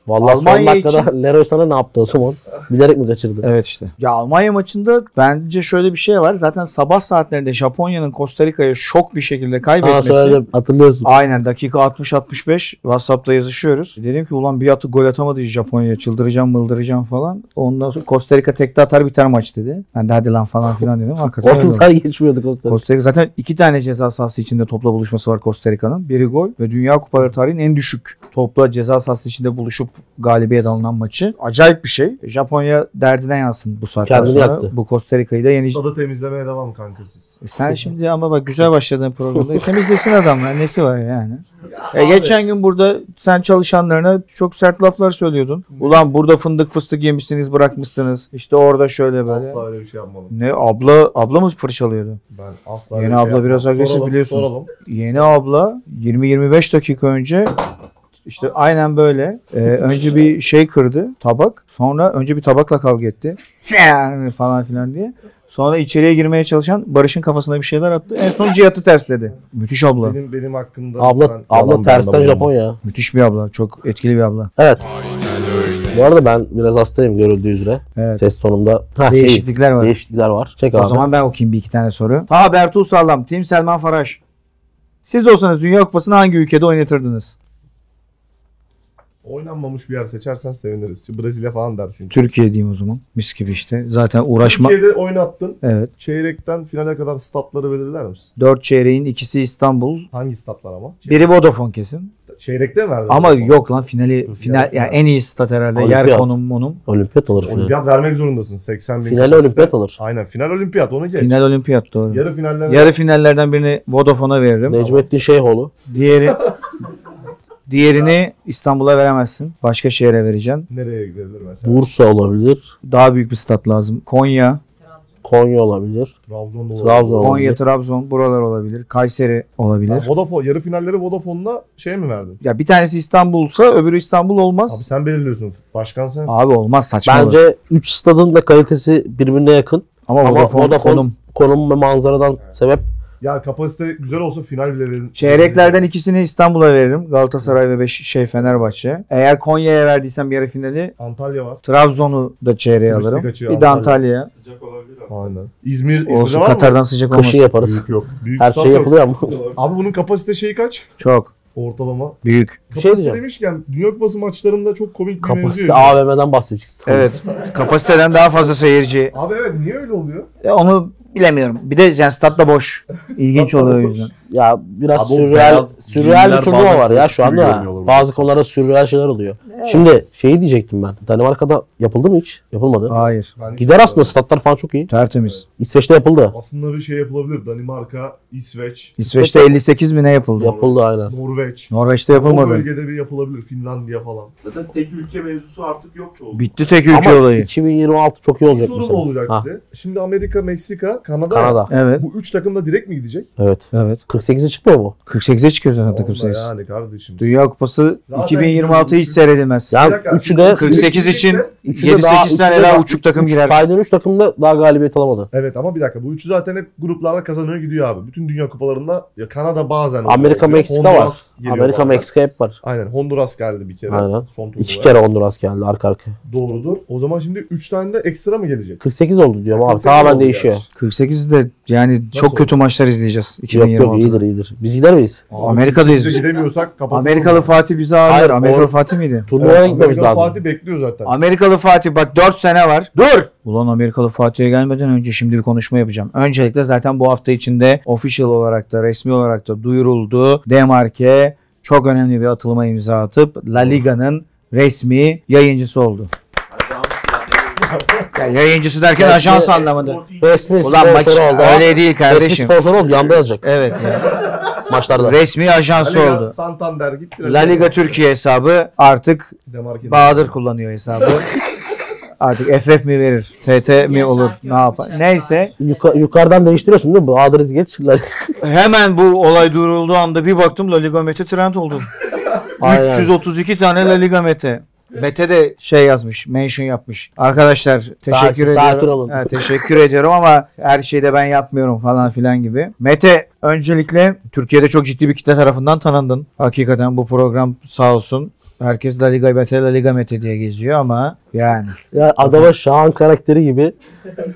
Speaker 2: Vallahi son
Speaker 1: Almanya
Speaker 2: dakikada Leroy sana ne yaptı o zaman? Bilerek mi kaçırdı?
Speaker 1: Evet işte. Ya Almanya maçında bence şöyle bir şey var. Zaten sabah saatlerinde Japonya'nın Costa Rica'ya şok bir şekilde
Speaker 2: Sana
Speaker 1: kaybetmesi.
Speaker 2: söyledim hatırlıyorsun.
Speaker 1: Aynen dakika 60-65 Whatsapp'ta yazışıyoruz. Dedim ki ulan bir atı gol atamadı Japonya'ya çıldıracağım mıldıracağım falan. Ondan sonra Costa Rica tekte atar biter maç dedi. Ben de hadi lan falan filan dedim. Hakikaten
Speaker 2: Orta
Speaker 1: öyle oldu.
Speaker 2: saha geçmiyorduk Costa Rica.
Speaker 1: Costa Rica zaten iki tane ceza sahası içinde topla buluşması var Costa Rica'nın. Biri gol ve Dünya Kupaları tarihinin en düşük topla ceza sahası içinde buluşup galibiyet alınan maçı. Acayip bir şey. Japonya derdine yansın bu saatten
Speaker 2: Kendini
Speaker 1: sonra.
Speaker 2: yaktı.
Speaker 1: Bu Costa Rica'yı da yenecek.
Speaker 3: Stadı temizlemeye devam kanka siz.
Speaker 1: E Sen şimdi ama bak güzel başladığın programda temizlesin adamlar. Nesi var yani? E geçen gün burada sen çalışanlarına çok sert laflar söylüyordun. Ulan burada fındık fıstık yemişsiniz bırakmışsınız. İşte orada şöyle böyle.
Speaker 3: Asla öyle bir şey yapmadım.
Speaker 1: Ne abla abla mı fırçalıyordu?
Speaker 3: Ben asla
Speaker 1: Yeni
Speaker 3: öyle bir
Speaker 1: abla
Speaker 3: yapmadım.
Speaker 1: biraz agresif
Speaker 3: Soralım,
Speaker 1: biliyorsun.
Speaker 3: Soralım.
Speaker 1: Yeni abla 20-25 dakika önce işte aynen böyle. Ee, önce bir şey kırdı tabak. Sonra önce bir tabakla kavga etti. Sen falan filan diye. Sonra içeriye girmeye çalışan Barış'ın kafasına bir şeyler attı. En son Cihat'ı tersledi. Müthiş abla.
Speaker 3: Benim benim hakkımda
Speaker 2: Abla,
Speaker 3: lütfen yalan
Speaker 2: abla
Speaker 3: bir
Speaker 2: tersten
Speaker 3: anlamı yok.
Speaker 2: Japonya.
Speaker 1: Müthiş bir abla. Çok etkili bir abla.
Speaker 2: Evet. Bu arada ben biraz hastayım görüldüğü üzere.
Speaker 1: Evet.
Speaker 2: Ses tonumda ha, şey,
Speaker 1: Değişiklikler var.
Speaker 2: değişiklikler var. Çek abi.
Speaker 1: O zaman ben okuyayım bir iki tane soru. Ha Bertu Sağlam, Tim Selman Faraş. Siz olsanız Dünya Kupası'nı hangi ülkede oynatırdınız?
Speaker 3: Oynanmamış bir yer seçersen seviniriz. Çünkü Brezilya falan der çünkü.
Speaker 1: Türkiye diyeyim o zaman. Mis gibi işte. Zaten uğraşma.
Speaker 3: Türkiye'de oynattın.
Speaker 1: Evet.
Speaker 3: Çeyrekten finale kadar statları belirler misin?
Speaker 1: Dört çeyreğin ikisi İstanbul.
Speaker 3: Hangi statlar ama?
Speaker 1: Biri Vodafone kesin.
Speaker 3: Çeyrekte mi verdin?
Speaker 1: Ama
Speaker 3: Vodafone?
Speaker 1: yok lan finali
Speaker 3: Yok,
Speaker 1: final
Speaker 3: yok,
Speaker 1: yani
Speaker 3: yok.
Speaker 1: en iyi stat herhalde.
Speaker 2: Olimpiyat.
Speaker 1: Yer konum monum.
Speaker 2: Olimpiyat alır finali.
Speaker 3: Olimpiyat vermek zorundasın. 80 bin.
Speaker 2: Finale
Speaker 3: kapasite.
Speaker 2: olimpiyat alır.
Speaker 3: Aynen final olimpiyat onu geç.
Speaker 1: Final olimpiyat doğru. Yarı,
Speaker 3: Yarı finalden
Speaker 1: finallerden birini Vodafone'a veririm.
Speaker 2: Necmettin Şeyhoğlu.
Speaker 1: Diğeri diğerini İstanbul'a veremezsin. Başka şehre vereceksin.
Speaker 3: nereye gidilir mesela?
Speaker 2: Bursa olabilir.
Speaker 1: Daha büyük bir stat lazım. Konya,
Speaker 2: Konya olabilir.
Speaker 3: Trabzon'da olur.
Speaker 2: Trabzon
Speaker 1: Konya,
Speaker 2: olabilir.
Speaker 1: Trabzon buralar olabilir. Kayseri
Speaker 3: Ha,
Speaker 1: olabilir.
Speaker 3: Vodafone, yarı finalleri Vodafone'la şey mi verdin?
Speaker 1: Ya bir tanesi İstanbul'sa öbürü İstanbul
Speaker 3: Abi
Speaker 1: olmaz.
Speaker 3: sen belirliyorsun. Başkan sensin.
Speaker 1: Abi olmaz saçma. olur.
Speaker 2: Bence 3 stadın da kalitesi birbirine yakın.
Speaker 1: ama
Speaker 2: Ama
Speaker 1: Vodafone,
Speaker 2: Vodafone
Speaker 1: konum.
Speaker 2: konum ve manzaradan sebep
Speaker 3: Ya kapasite güzel olsa final bile verin.
Speaker 1: Çeyreklerden ikisini İstanbul'a veririm. Galatasaray ve beş, şey Fenerbahçe. Eğer Konya'ya verdiysem yarı finali
Speaker 3: Antalya var.
Speaker 1: Trabzon'u da çeyreğe
Speaker 3: Turistik
Speaker 1: alırım.
Speaker 3: açıyor
Speaker 1: Bir de
Speaker 3: Antalya.
Speaker 1: Antalya'ya.
Speaker 4: Sıcak olabilir ama.
Speaker 3: Aynen. İzmir, İzmir'de
Speaker 1: Olsun
Speaker 3: var mı?
Speaker 1: Katar'dan sıcak olmaz.
Speaker 2: Kışı yaparız.
Speaker 3: Büyük yok. Büyük
Speaker 2: Her
Speaker 3: stat
Speaker 2: şey
Speaker 3: yok.
Speaker 2: yapılıyor ama.
Speaker 3: Abi bunun kapasite şeyi kaç?
Speaker 1: Çok.
Speaker 3: Ortalama.
Speaker 1: Büyük.
Speaker 2: Bir şey
Speaker 3: Kapasite
Speaker 2: diyeceğim.
Speaker 3: demişken Dünya Kupası maçlarında çok komik bir
Speaker 2: Kapasite
Speaker 3: mevzu yok.
Speaker 2: AVM'den bahsedeceksin.
Speaker 1: Evet. Kapasiteden daha fazla seyirci.
Speaker 3: Abi evet niye öyle oluyor?
Speaker 1: E, onu bilemiyorum. Bir de yani stat da boş. İlginç
Speaker 3: Stat da
Speaker 1: oluyor o
Speaker 3: boş.
Speaker 1: yüzden.
Speaker 2: Ya biraz
Speaker 4: Abi o
Speaker 2: sürreal,
Speaker 4: beyaz
Speaker 2: sürreal bir
Speaker 4: giyimler
Speaker 2: turnuva
Speaker 4: bazen
Speaker 2: var ya şu
Speaker 4: korkutucu
Speaker 2: anda. ha.
Speaker 4: görünüyor olabilir.
Speaker 2: Bazı konularda sürreal şeyler oluyor. Şimdi şeyi diyecektim ben. Danimarka'da yapıldı mı hiç? Yapılmadı.
Speaker 1: Hayır.
Speaker 3: Ben-
Speaker 2: Gider aslında statlar falan çok iyi.
Speaker 1: Tertemiz.
Speaker 2: İsveç'te yapıldı.
Speaker 3: Aslında bir şey yapılabilir. Danimarka, İsveç,
Speaker 1: İsveç'te 58 bine yapıldı.
Speaker 2: Yapıldı aynen.
Speaker 3: Norveç.
Speaker 1: Norveç'te
Speaker 3: O
Speaker 1: yapılmadı.
Speaker 3: bölgede bir yapılabilir. Finlandiya falan.
Speaker 4: Zaten tek ülke mevzusu artık yok çoğu.
Speaker 1: Bitti tek ülke
Speaker 2: Ama
Speaker 1: olayı.
Speaker 2: 2026 çok iyi
Speaker 3: Bir
Speaker 2: olacak bu
Speaker 3: soru
Speaker 2: sene.
Speaker 3: mu olacak
Speaker 2: Ha,
Speaker 3: size? Şimdi Amerika, Meksika, Kanada.
Speaker 2: Kanada.
Speaker 1: Evet.
Speaker 3: Bu üç takım da direkt mi gidecek?
Speaker 2: Evet.
Speaker 1: Evet.
Speaker 2: 48'e çıkmıyor mu?
Speaker 1: 48'e çıkıyor zaten takım
Speaker 3: Vallahi
Speaker 1: sayısı.
Speaker 3: Yani kardeşim.
Speaker 1: Dünya Kupası
Speaker 3: Zaten
Speaker 1: 2026'yı hiç
Speaker 3: görüyorsun.
Speaker 1: seyredilmez.
Speaker 2: Yani
Speaker 3: Bir dakika.
Speaker 2: 3'ü de
Speaker 1: 48 için
Speaker 2: üçü de daha-
Speaker 1: 7-8 tane
Speaker 2: üçü de
Speaker 1: daha
Speaker 2: daha-
Speaker 1: uçuk takım
Speaker 2: üç-
Speaker 1: girer.
Speaker 2: Saydığın 3 takımda daha galibiyet alamadı.
Speaker 3: Evet ama bir dakika bu üçü zaten hep gruplarla kazanıyor gidiyor abi. Bütün dünya kupalarında ya Kanada bazen oluyor.
Speaker 2: Amerika, Meksika
Speaker 3: Honduras geliyor
Speaker 2: Amerika
Speaker 3: bazen.
Speaker 2: Meksika hep var.
Speaker 3: Aynen Honduras geldi bir kere.
Speaker 2: Aynen.
Speaker 3: Son turda.
Speaker 2: 2 kere Honduras geldi arka arka.
Speaker 3: Doğrudur. O zaman şimdi 3 tane de ekstra mı gelecek?
Speaker 2: 48 oldu diyorum abi.
Speaker 3: 48
Speaker 2: Tamamen
Speaker 3: oldu
Speaker 2: değişiyor.
Speaker 3: gerçi.
Speaker 1: 48 de yani çok
Speaker 3: Nasıl
Speaker 1: kötü maçlar izleyeceğiz
Speaker 2: Yok yok
Speaker 1: 2026'da.
Speaker 2: iyidir iyidir. Biz gider miyiz?
Speaker 3: Abi,
Speaker 1: Amerika'dayız.
Speaker 3: Biz de gidemiyorsak kapatalım.
Speaker 1: Amerikalı Fatih bizi ağırlar.
Speaker 2: Hayır,
Speaker 1: Amerikalı
Speaker 2: or-
Speaker 1: Fatih miydi?
Speaker 2: Turnuvaya
Speaker 3: Evet,
Speaker 2: gitmemiz
Speaker 3: Amerikalı
Speaker 2: lazım.
Speaker 3: Fatih bekliyor zaten. Hani
Speaker 1: Amerikalı Fatih bak 4 sene var.
Speaker 2: Dur!
Speaker 1: Ulan Amerikalı Fatih'e gelmeden önce şimdi bir konuşma yapacağım. Öncelikle zaten bu hafta içinde official olarak da resmi olarak da duyuruldu. Demarke çok önemli bir atılıma imza atıp La Liga'nın resmi yayıncısı oldu.
Speaker 4: Ajans yani.
Speaker 1: Ya yayıncısı derken
Speaker 2: Resmi-
Speaker 1: ajans anlamında.
Speaker 4: Sporting-
Speaker 2: Resmi
Speaker 1: Ulan
Speaker 2: sponsor
Speaker 1: maç
Speaker 2: oldu.
Speaker 1: öyle değil
Speaker 2: Resmi
Speaker 1: kardeşim.
Speaker 2: sponsor oldu. Yanda yazacak
Speaker 1: Evet ya.
Speaker 2: maçlarda.
Speaker 1: Resmi ajansı
Speaker 3: La Liga,
Speaker 1: oldu.
Speaker 3: Santander gitti.
Speaker 1: La Liga Türkiye hesabı artık
Speaker 3: Demarke.
Speaker 1: Bahadır kullanıyor hesabı. Artık FF mi verir? TT mi
Speaker 5: Yaşar
Speaker 1: olur?
Speaker 5: yok,
Speaker 1: Ne yapar?
Speaker 5: bıçak
Speaker 1: Neyse.
Speaker 2: Yuka- yukarıdan değiştiriyorsun değil mi? Bahadır İzgeç.
Speaker 1: Hemen bu olay duyurulduğu anda bir baktım La Liga Mete trend oldu.
Speaker 2: Aynen.
Speaker 1: 332 tane La Liga Mete. Mete de şey yazmış, mention yapmış. Arkadaşlar teşekkür
Speaker 2: Sakin,
Speaker 1: ediyorum.
Speaker 2: sakin olun.
Speaker 1: Ha, teşekkür ediyorum ama her şeyi de ben yapmıyorum falan filan gibi. Mete öncelikle Türkiye'de çok ciddi bir kitle tarafından tanındın. Hakikaten bu program sağ olsun. Herkes La Liga Mete, La Liga Mete diye geziyor ama yani.
Speaker 2: Ya adama Şahan karakteri gibi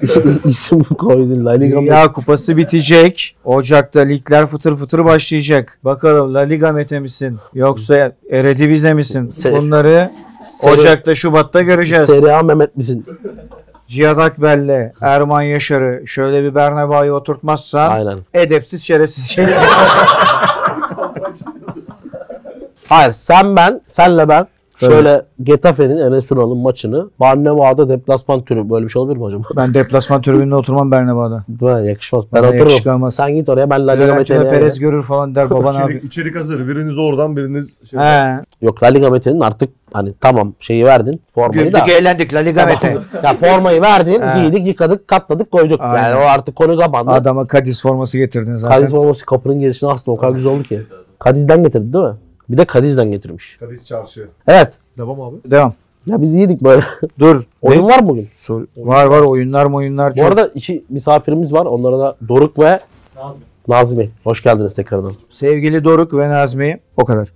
Speaker 2: isim koydun. La Liga mı?
Speaker 1: Dünya Kupası bitecek. Ocak'ta ligler fıtır fıtır başlayacak. Bakalım La Liga Mete misin? Yoksa Eredivize misin?
Speaker 2: Se-
Speaker 1: Bunları
Speaker 2: Seri-
Speaker 1: Ocak'ta Şubat'ta göreceğiz.
Speaker 2: Seri A Mehmet misin?
Speaker 1: Cihat Akbel'le Erman Yaşar'ı şöyle bir Bernabeu'ya oturtmazsan
Speaker 2: Aynen.
Speaker 1: edepsiz şerefsiz şey.
Speaker 2: Hayır sen ben, senle ben şöyle Getafe'nin Enes Ünal'ın maçını Barneva'da deplasman türü böyle bir şey olabilir mi hocam?
Speaker 1: ben deplasman tribününe oturmam Bernabeu'da.
Speaker 2: Bana yakışmaz. Ben
Speaker 1: Bana
Speaker 2: otururum.
Speaker 1: yakışmaz.
Speaker 2: Sen git oraya ben La Liga
Speaker 1: Yönetime
Speaker 2: Mete'ye.
Speaker 1: Perez görür falan der baban
Speaker 3: İçerik,
Speaker 1: abi.
Speaker 3: içerik hazır. Biriniz oradan biriniz şey.
Speaker 1: He.
Speaker 2: Yok La Liga Mete'nin artık hani tamam şeyi verdin. Formayı da.
Speaker 1: Güldük eğlendik La Liga Mete.
Speaker 2: ya formayı verdin,
Speaker 1: He.
Speaker 2: giydik, yıkadık, katladık, koyduk.
Speaker 1: Aynen.
Speaker 2: Yani o artık konu kapandı.
Speaker 1: Adama Kadiz forması getirdin zaten.
Speaker 2: Kadiz forması kapının girişine aslında o kadar güzel oldu ki. Kadiz'den getirdi değil mi? Bir de Kadiz'den getirmiş.
Speaker 3: Kadis Çarşı.
Speaker 2: Evet.
Speaker 3: Devam abi.
Speaker 1: Devam.
Speaker 2: Ya biz iyiydik böyle.
Speaker 1: Dur.
Speaker 2: Oyun var mı bugün?
Speaker 1: Sor- var var oyunlar mı oyunlar
Speaker 2: Bu arada iki misafirimiz var. Onlara da Doruk ve Nazmi. Hoş geldiniz tekrardan.
Speaker 1: Sevgili Doruk ve Nazmi o kadar.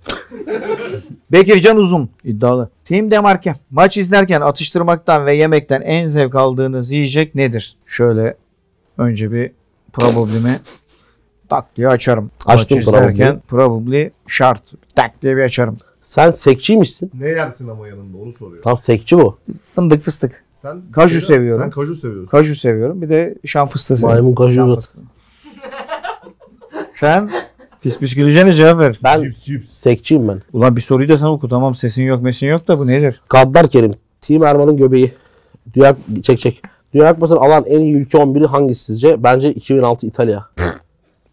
Speaker 1: Bekircan Uzun iddialı. Team Demarke maç izlerken atıştırmaktan ve yemekten en zevk aldığınız yiyecek nedir? Şöyle önce bir problem'i tak diye açarım.
Speaker 2: Açtım
Speaker 1: maç izlerken probably şart tak diye bir açarım.
Speaker 2: Sen sekçiymişsin.
Speaker 3: Ne yersin ama yanında onu soruyor.
Speaker 2: Tam sekçi bu.
Speaker 1: Fındık fıstık.
Speaker 3: Sen
Speaker 1: Kaju seviyorum.
Speaker 3: Sen kaju seviyorsun.
Speaker 1: Kaju seviyorum. Bir de şan fıstığı seviyorum.
Speaker 2: Maymun kaşı
Speaker 1: Şan
Speaker 2: uzat.
Speaker 1: fıstığı. Sen pis pis güleceğine cevap ver.
Speaker 2: Ben
Speaker 3: Cips cips.
Speaker 2: sekçiyim ben.
Speaker 1: Ulan bir soruyu da sen oku. Tamam sesin yok mesin yok da bu nedir?
Speaker 2: Gaddar Kerim. Team Erman'ın göbeği. Dünya, çek çek. Dünya Kupası'nı alan en iyi ülke 11'i hangisi sizce? Bence 2006 İtalya.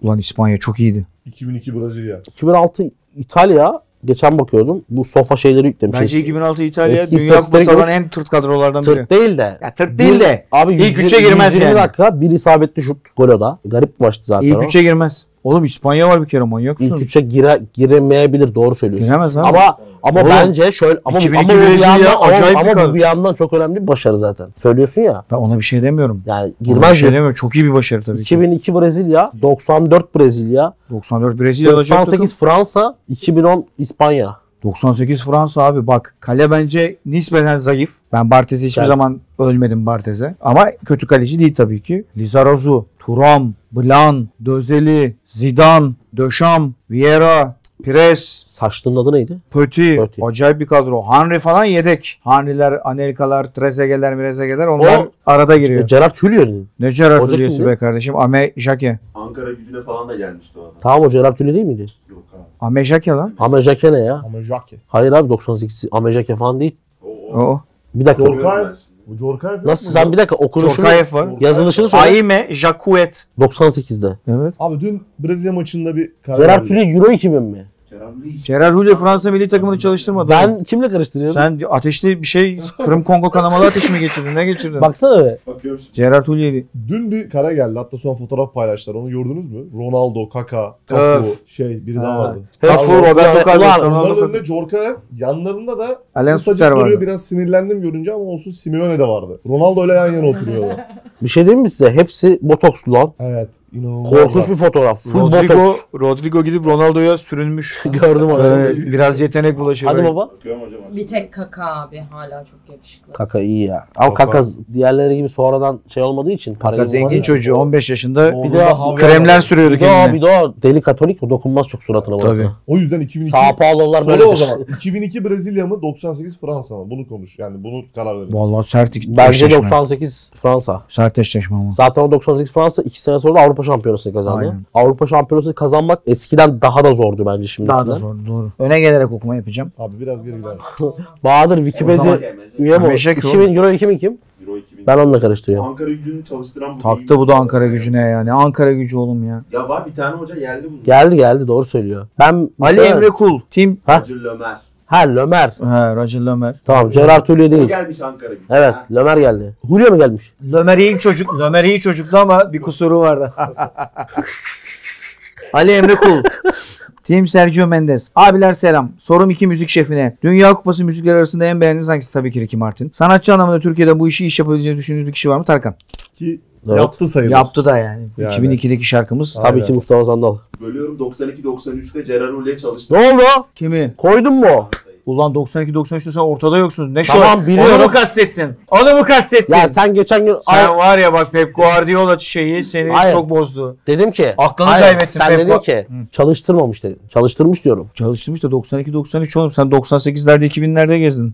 Speaker 1: Ulan İspanya çok iyiydi.
Speaker 3: 2002 Brezilya.
Speaker 2: 2006 İtalya geçen bakıyordum. Bu sofa şeyleri yüklemiş.
Speaker 1: Bence 2006 İtalya
Speaker 2: şey- Eski
Speaker 1: Dünya
Speaker 2: istatistikleri
Speaker 1: Kupası alan
Speaker 2: gör-
Speaker 1: en tırt kadrolardan biri.
Speaker 2: Tırt değil de.
Speaker 1: Ya tırt değil de.
Speaker 2: Abi
Speaker 1: ilk
Speaker 2: yüz-
Speaker 1: üçe girmez
Speaker 2: 120
Speaker 1: yani.
Speaker 2: dakika bir isabetli şut gol o da. Garip bir maçtı zaten
Speaker 1: İlk
Speaker 2: o.
Speaker 1: üçe girmez. Oğlum İspanya var bir kere manyak
Speaker 2: İlk
Speaker 1: mısın?
Speaker 2: üçe gire, giremeyebilir doğru söylüyorsun.
Speaker 1: Giremez abi.
Speaker 2: Ama ama
Speaker 1: Oğlum,
Speaker 2: bence şöyle ama, ama,
Speaker 1: 2002
Speaker 2: bu bir
Speaker 1: Brezilya
Speaker 2: yandan, ama,
Speaker 1: acayip bir
Speaker 2: ama bu
Speaker 1: kadro.
Speaker 2: bir yandan çok önemli bir başarı zaten. Söylüyorsun ya.
Speaker 1: Ben ona bir şey demiyorum.
Speaker 2: Yani
Speaker 1: Ona bir
Speaker 2: girmez
Speaker 1: şey
Speaker 2: diyorsun.
Speaker 1: demiyorum. Çok iyi bir başarı tabii ki.
Speaker 2: 2002 Brezilya, 94 Brezilya,
Speaker 1: 94 Brezilya alacak takım.
Speaker 2: 98 Fransa, 2010 İspanya.
Speaker 1: 98 Fransa abi bak kale bence nispeten zayıf. Ben Bartez'i hiçbir
Speaker 2: Yani-
Speaker 1: zaman ölmedim Bartez'e. Ama kötü kaleci değil tabii ki. Lizarazu, Turam, Blan, Dözeli, Zidane, Döşam, Vieira, Pires,
Speaker 2: Saçlının adı neydi?
Speaker 1: Pötü.
Speaker 2: Pötü.
Speaker 1: Acayip bir kadro. Henry falan yedek. Henry'ler, Anelkalar, Trezegeler, Mirezegeler onlar
Speaker 2: O-
Speaker 1: arada giriyor.
Speaker 2: E, Gerard Hülyer'in.
Speaker 1: Ne Gerard
Speaker 2: Hoca
Speaker 1: Hülyesi
Speaker 2: kimdi?
Speaker 1: be kardeşim. Ame Jake.
Speaker 4: Ankara gücüne falan da gelmişti o adam.
Speaker 2: Tamam o Gerard Hülyer değil miydi?
Speaker 4: Yok abi.
Speaker 1: Ame Jake lan.
Speaker 2: Ame Jacquet ne ya?
Speaker 3: Ama Jacke.
Speaker 2: Hayır abi 98 Ame Jacquet falan değil.
Speaker 4: O, o.
Speaker 1: O.
Speaker 2: Bir dakika.
Speaker 3: Doğru.
Speaker 4: Görüyorum ben şimdi.
Speaker 3: Bu Jorkay
Speaker 2: Nasıl sen bir dakika okunuşunu
Speaker 1: Çorkayev var.
Speaker 2: yazılışını söyle.
Speaker 1: Aime Jakuet.
Speaker 2: 98'de.
Speaker 1: Evet.
Speaker 3: Abi dün Brezilya maçında bir karar
Speaker 2: Gerard
Speaker 3: verdi.
Speaker 2: Hülyer Euro 2000 mi?
Speaker 4: Kerem Lee.
Speaker 1: Gerard Hülyesi Fransa milli takımını çalıştırmadı.
Speaker 2: Ben kimle karıştırıyorum?
Speaker 1: Sen ateşli bir şey Kırım Kongo kanamalı ateşi mi geçirdin? Ne geçirdin? Bak.
Speaker 2: Baksana be.
Speaker 4: Bakıyorum şimdi.
Speaker 1: Gerard Hulyeli.
Speaker 3: Dün bir kara geldi. Hatta son fotoğraf paylaştılar. Onu gördünüz mü? Ronaldo, Kaka, Cafu,
Speaker 1: Öf.
Speaker 3: şey biri
Speaker 1: Ha.
Speaker 3: daha vardı.
Speaker 1: Cafu,
Speaker 2: Ulan,
Speaker 1: Roberto Carlos,
Speaker 2: ulan,
Speaker 1: Ronaldo.
Speaker 3: Onların
Speaker 1: Carlos.
Speaker 3: önünde Jorkaev, yanlarında da
Speaker 1: Alain
Speaker 3: ufacık
Speaker 1: Suter
Speaker 3: duruyor.
Speaker 1: var.
Speaker 3: Biraz sinirlendim görünce ama olsun Simeone de vardı. Ronaldo ile yan yana oturuyordu.
Speaker 2: Bir şey diyeyim mi size? Hepsi botokslu lan.
Speaker 3: evet. inanılmaz.
Speaker 2: Korkunç bir fotoğraf. Full
Speaker 1: Rodrigo,
Speaker 2: botoks.
Speaker 1: Rodrigo gidip Ronaldo'ya sürünmüş.
Speaker 2: Gördüm onu.
Speaker 1: Ee, biraz yetenek bulaşıyor.
Speaker 2: Hadi baba.
Speaker 4: Bakıyorum hocam. hadi.
Speaker 5: Bir tek kaka abi hala çok yakışıklı.
Speaker 2: Kaka iyi ya. Ama
Speaker 3: Kaka.
Speaker 2: kaka, diğerleri gibi sonradan şey olmadığı için parayı
Speaker 1: Fakat zengin çocuğu 15 yaşında
Speaker 3: Oğlum
Speaker 2: Bir de
Speaker 3: da havaya
Speaker 1: kremler
Speaker 3: bak.
Speaker 1: sürüyorduk
Speaker 2: Bir daha
Speaker 1: eline.
Speaker 2: bir daha deli katolik dokunmaz çok suratına bana.
Speaker 1: Tabii.
Speaker 3: O yüzden 2002
Speaker 2: Sao Paulo'lar
Speaker 3: Soru
Speaker 2: böyle şey.
Speaker 3: o zaman. 2002 Brezilya mı 98 Fransa mı? Bunu konuş. Yani bunu karar verin.
Speaker 1: Vallahi sert
Speaker 2: Bence
Speaker 1: eşleşme.
Speaker 2: 98 Fransa.
Speaker 1: Sert eşleşme ama.
Speaker 2: Zaten o 98 Fransa 2 sene sonra da Avrupa Şampiyonası'nı kazandı.
Speaker 1: Aynen.
Speaker 2: Avrupa Şampiyonası'nı kazanmak eskiden daha da zordu bence şimdi.
Speaker 1: Daha da zor doğru. Öne gelerek okuma yapacağım.
Speaker 3: Abi biraz geri gidelim.
Speaker 5: Olmaz.
Speaker 2: Bahadır
Speaker 1: O zaman-
Speaker 2: Wikipedia
Speaker 4: Gelmez.
Speaker 2: üye mi? o?
Speaker 1: Meşek
Speaker 2: 2000 Euro 2000 kim?
Speaker 4: Euro 2000.
Speaker 2: Ben onunla karıştırıyorum.
Speaker 4: Ankara gücünü çalıştıran bu değil.
Speaker 1: Taktı bu da Ankara gücüne yani. Ankara gücü oğlum ya.
Speaker 4: Ya var bir tane hoca geldi bunun.
Speaker 2: Geldi geldi doğru söylüyor. Ben
Speaker 1: Ali Emre Kul. Tim.
Speaker 2: Ha?
Speaker 4: Hacı Lömer.
Speaker 2: Ha Lömer.
Speaker 1: He, Roger Lömer.
Speaker 2: Tamam Gerard Hülya
Speaker 4: O
Speaker 2: değil.
Speaker 4: gelmiş Ankara gücüne.
Speaker 2: Evet
Speaker 4: Ha.
Speaker 2: Lömer geldi. Hülya mı gelmiş?
Speaker 1: Lömer iyi çocuk. Lömer iyi çocuktu ama bir kusuru vardı. Ali Emre Kul. Team Sergio Mendes. Abiler selam. Sorum iki müzik şefine. Dünya Kupası müzikleri arasında en beğendiğiniz hangisi tabii ki Ricky Martin. Sanatçı anlamında Türkiye'de bu işi iş yapabileceğini düşündüğünüz bir kişi var mı? Tarkan.
Speaker 3: Ki
Speaker 2: Evet.
Speaker 3: yaptı sayılır.
Speaker 1: Yaptı da yani.
Speaker 3: Yani.
Speaker 1: 2002'deki şarkımız.
Speaker 3: Aynen.
Speaker 2: Tabii ki Mustafa Sandal.
Speaker 4: Bölüyorum 92-93'te Gerard Ule'ye çalıştı.
Speaker 2: Ne oldu?
Speaker 1: Kimi?
Speaker 2: Koydun mu?
Speaker 1: Ulan 92-93'te sen ortada yoksun. Ne
Speaker 2: Tamam,
Speaker 1: şov?
Speaker 2: biliyorum.
Speaker 1: Onu mu kastettin? Onu mu kastettin?
Speaker 2: Ya sen geçen gün
Speaker 1: Sen var ya bak Pep Guardiola şeyi seni
Speaker 2: Hayır.
Speaker 1: çok bozdu.
Speaker 2: dedim ki
Speaker 1: Aklını
Speaker 2: Hayır,
Speaker 1: kaybettin
Speaker 2: Sen
Speaker 1: Pep
Speaker 2: dedin
Speaker 1: Gua-
Speaker 2: ki çalıştırmamış dedim. Çalıştırmış diyorum.
Speaker 1: Çalıştırmış da 92-93 oğlum. Sen 98'lerde 2000'lerde gezdin.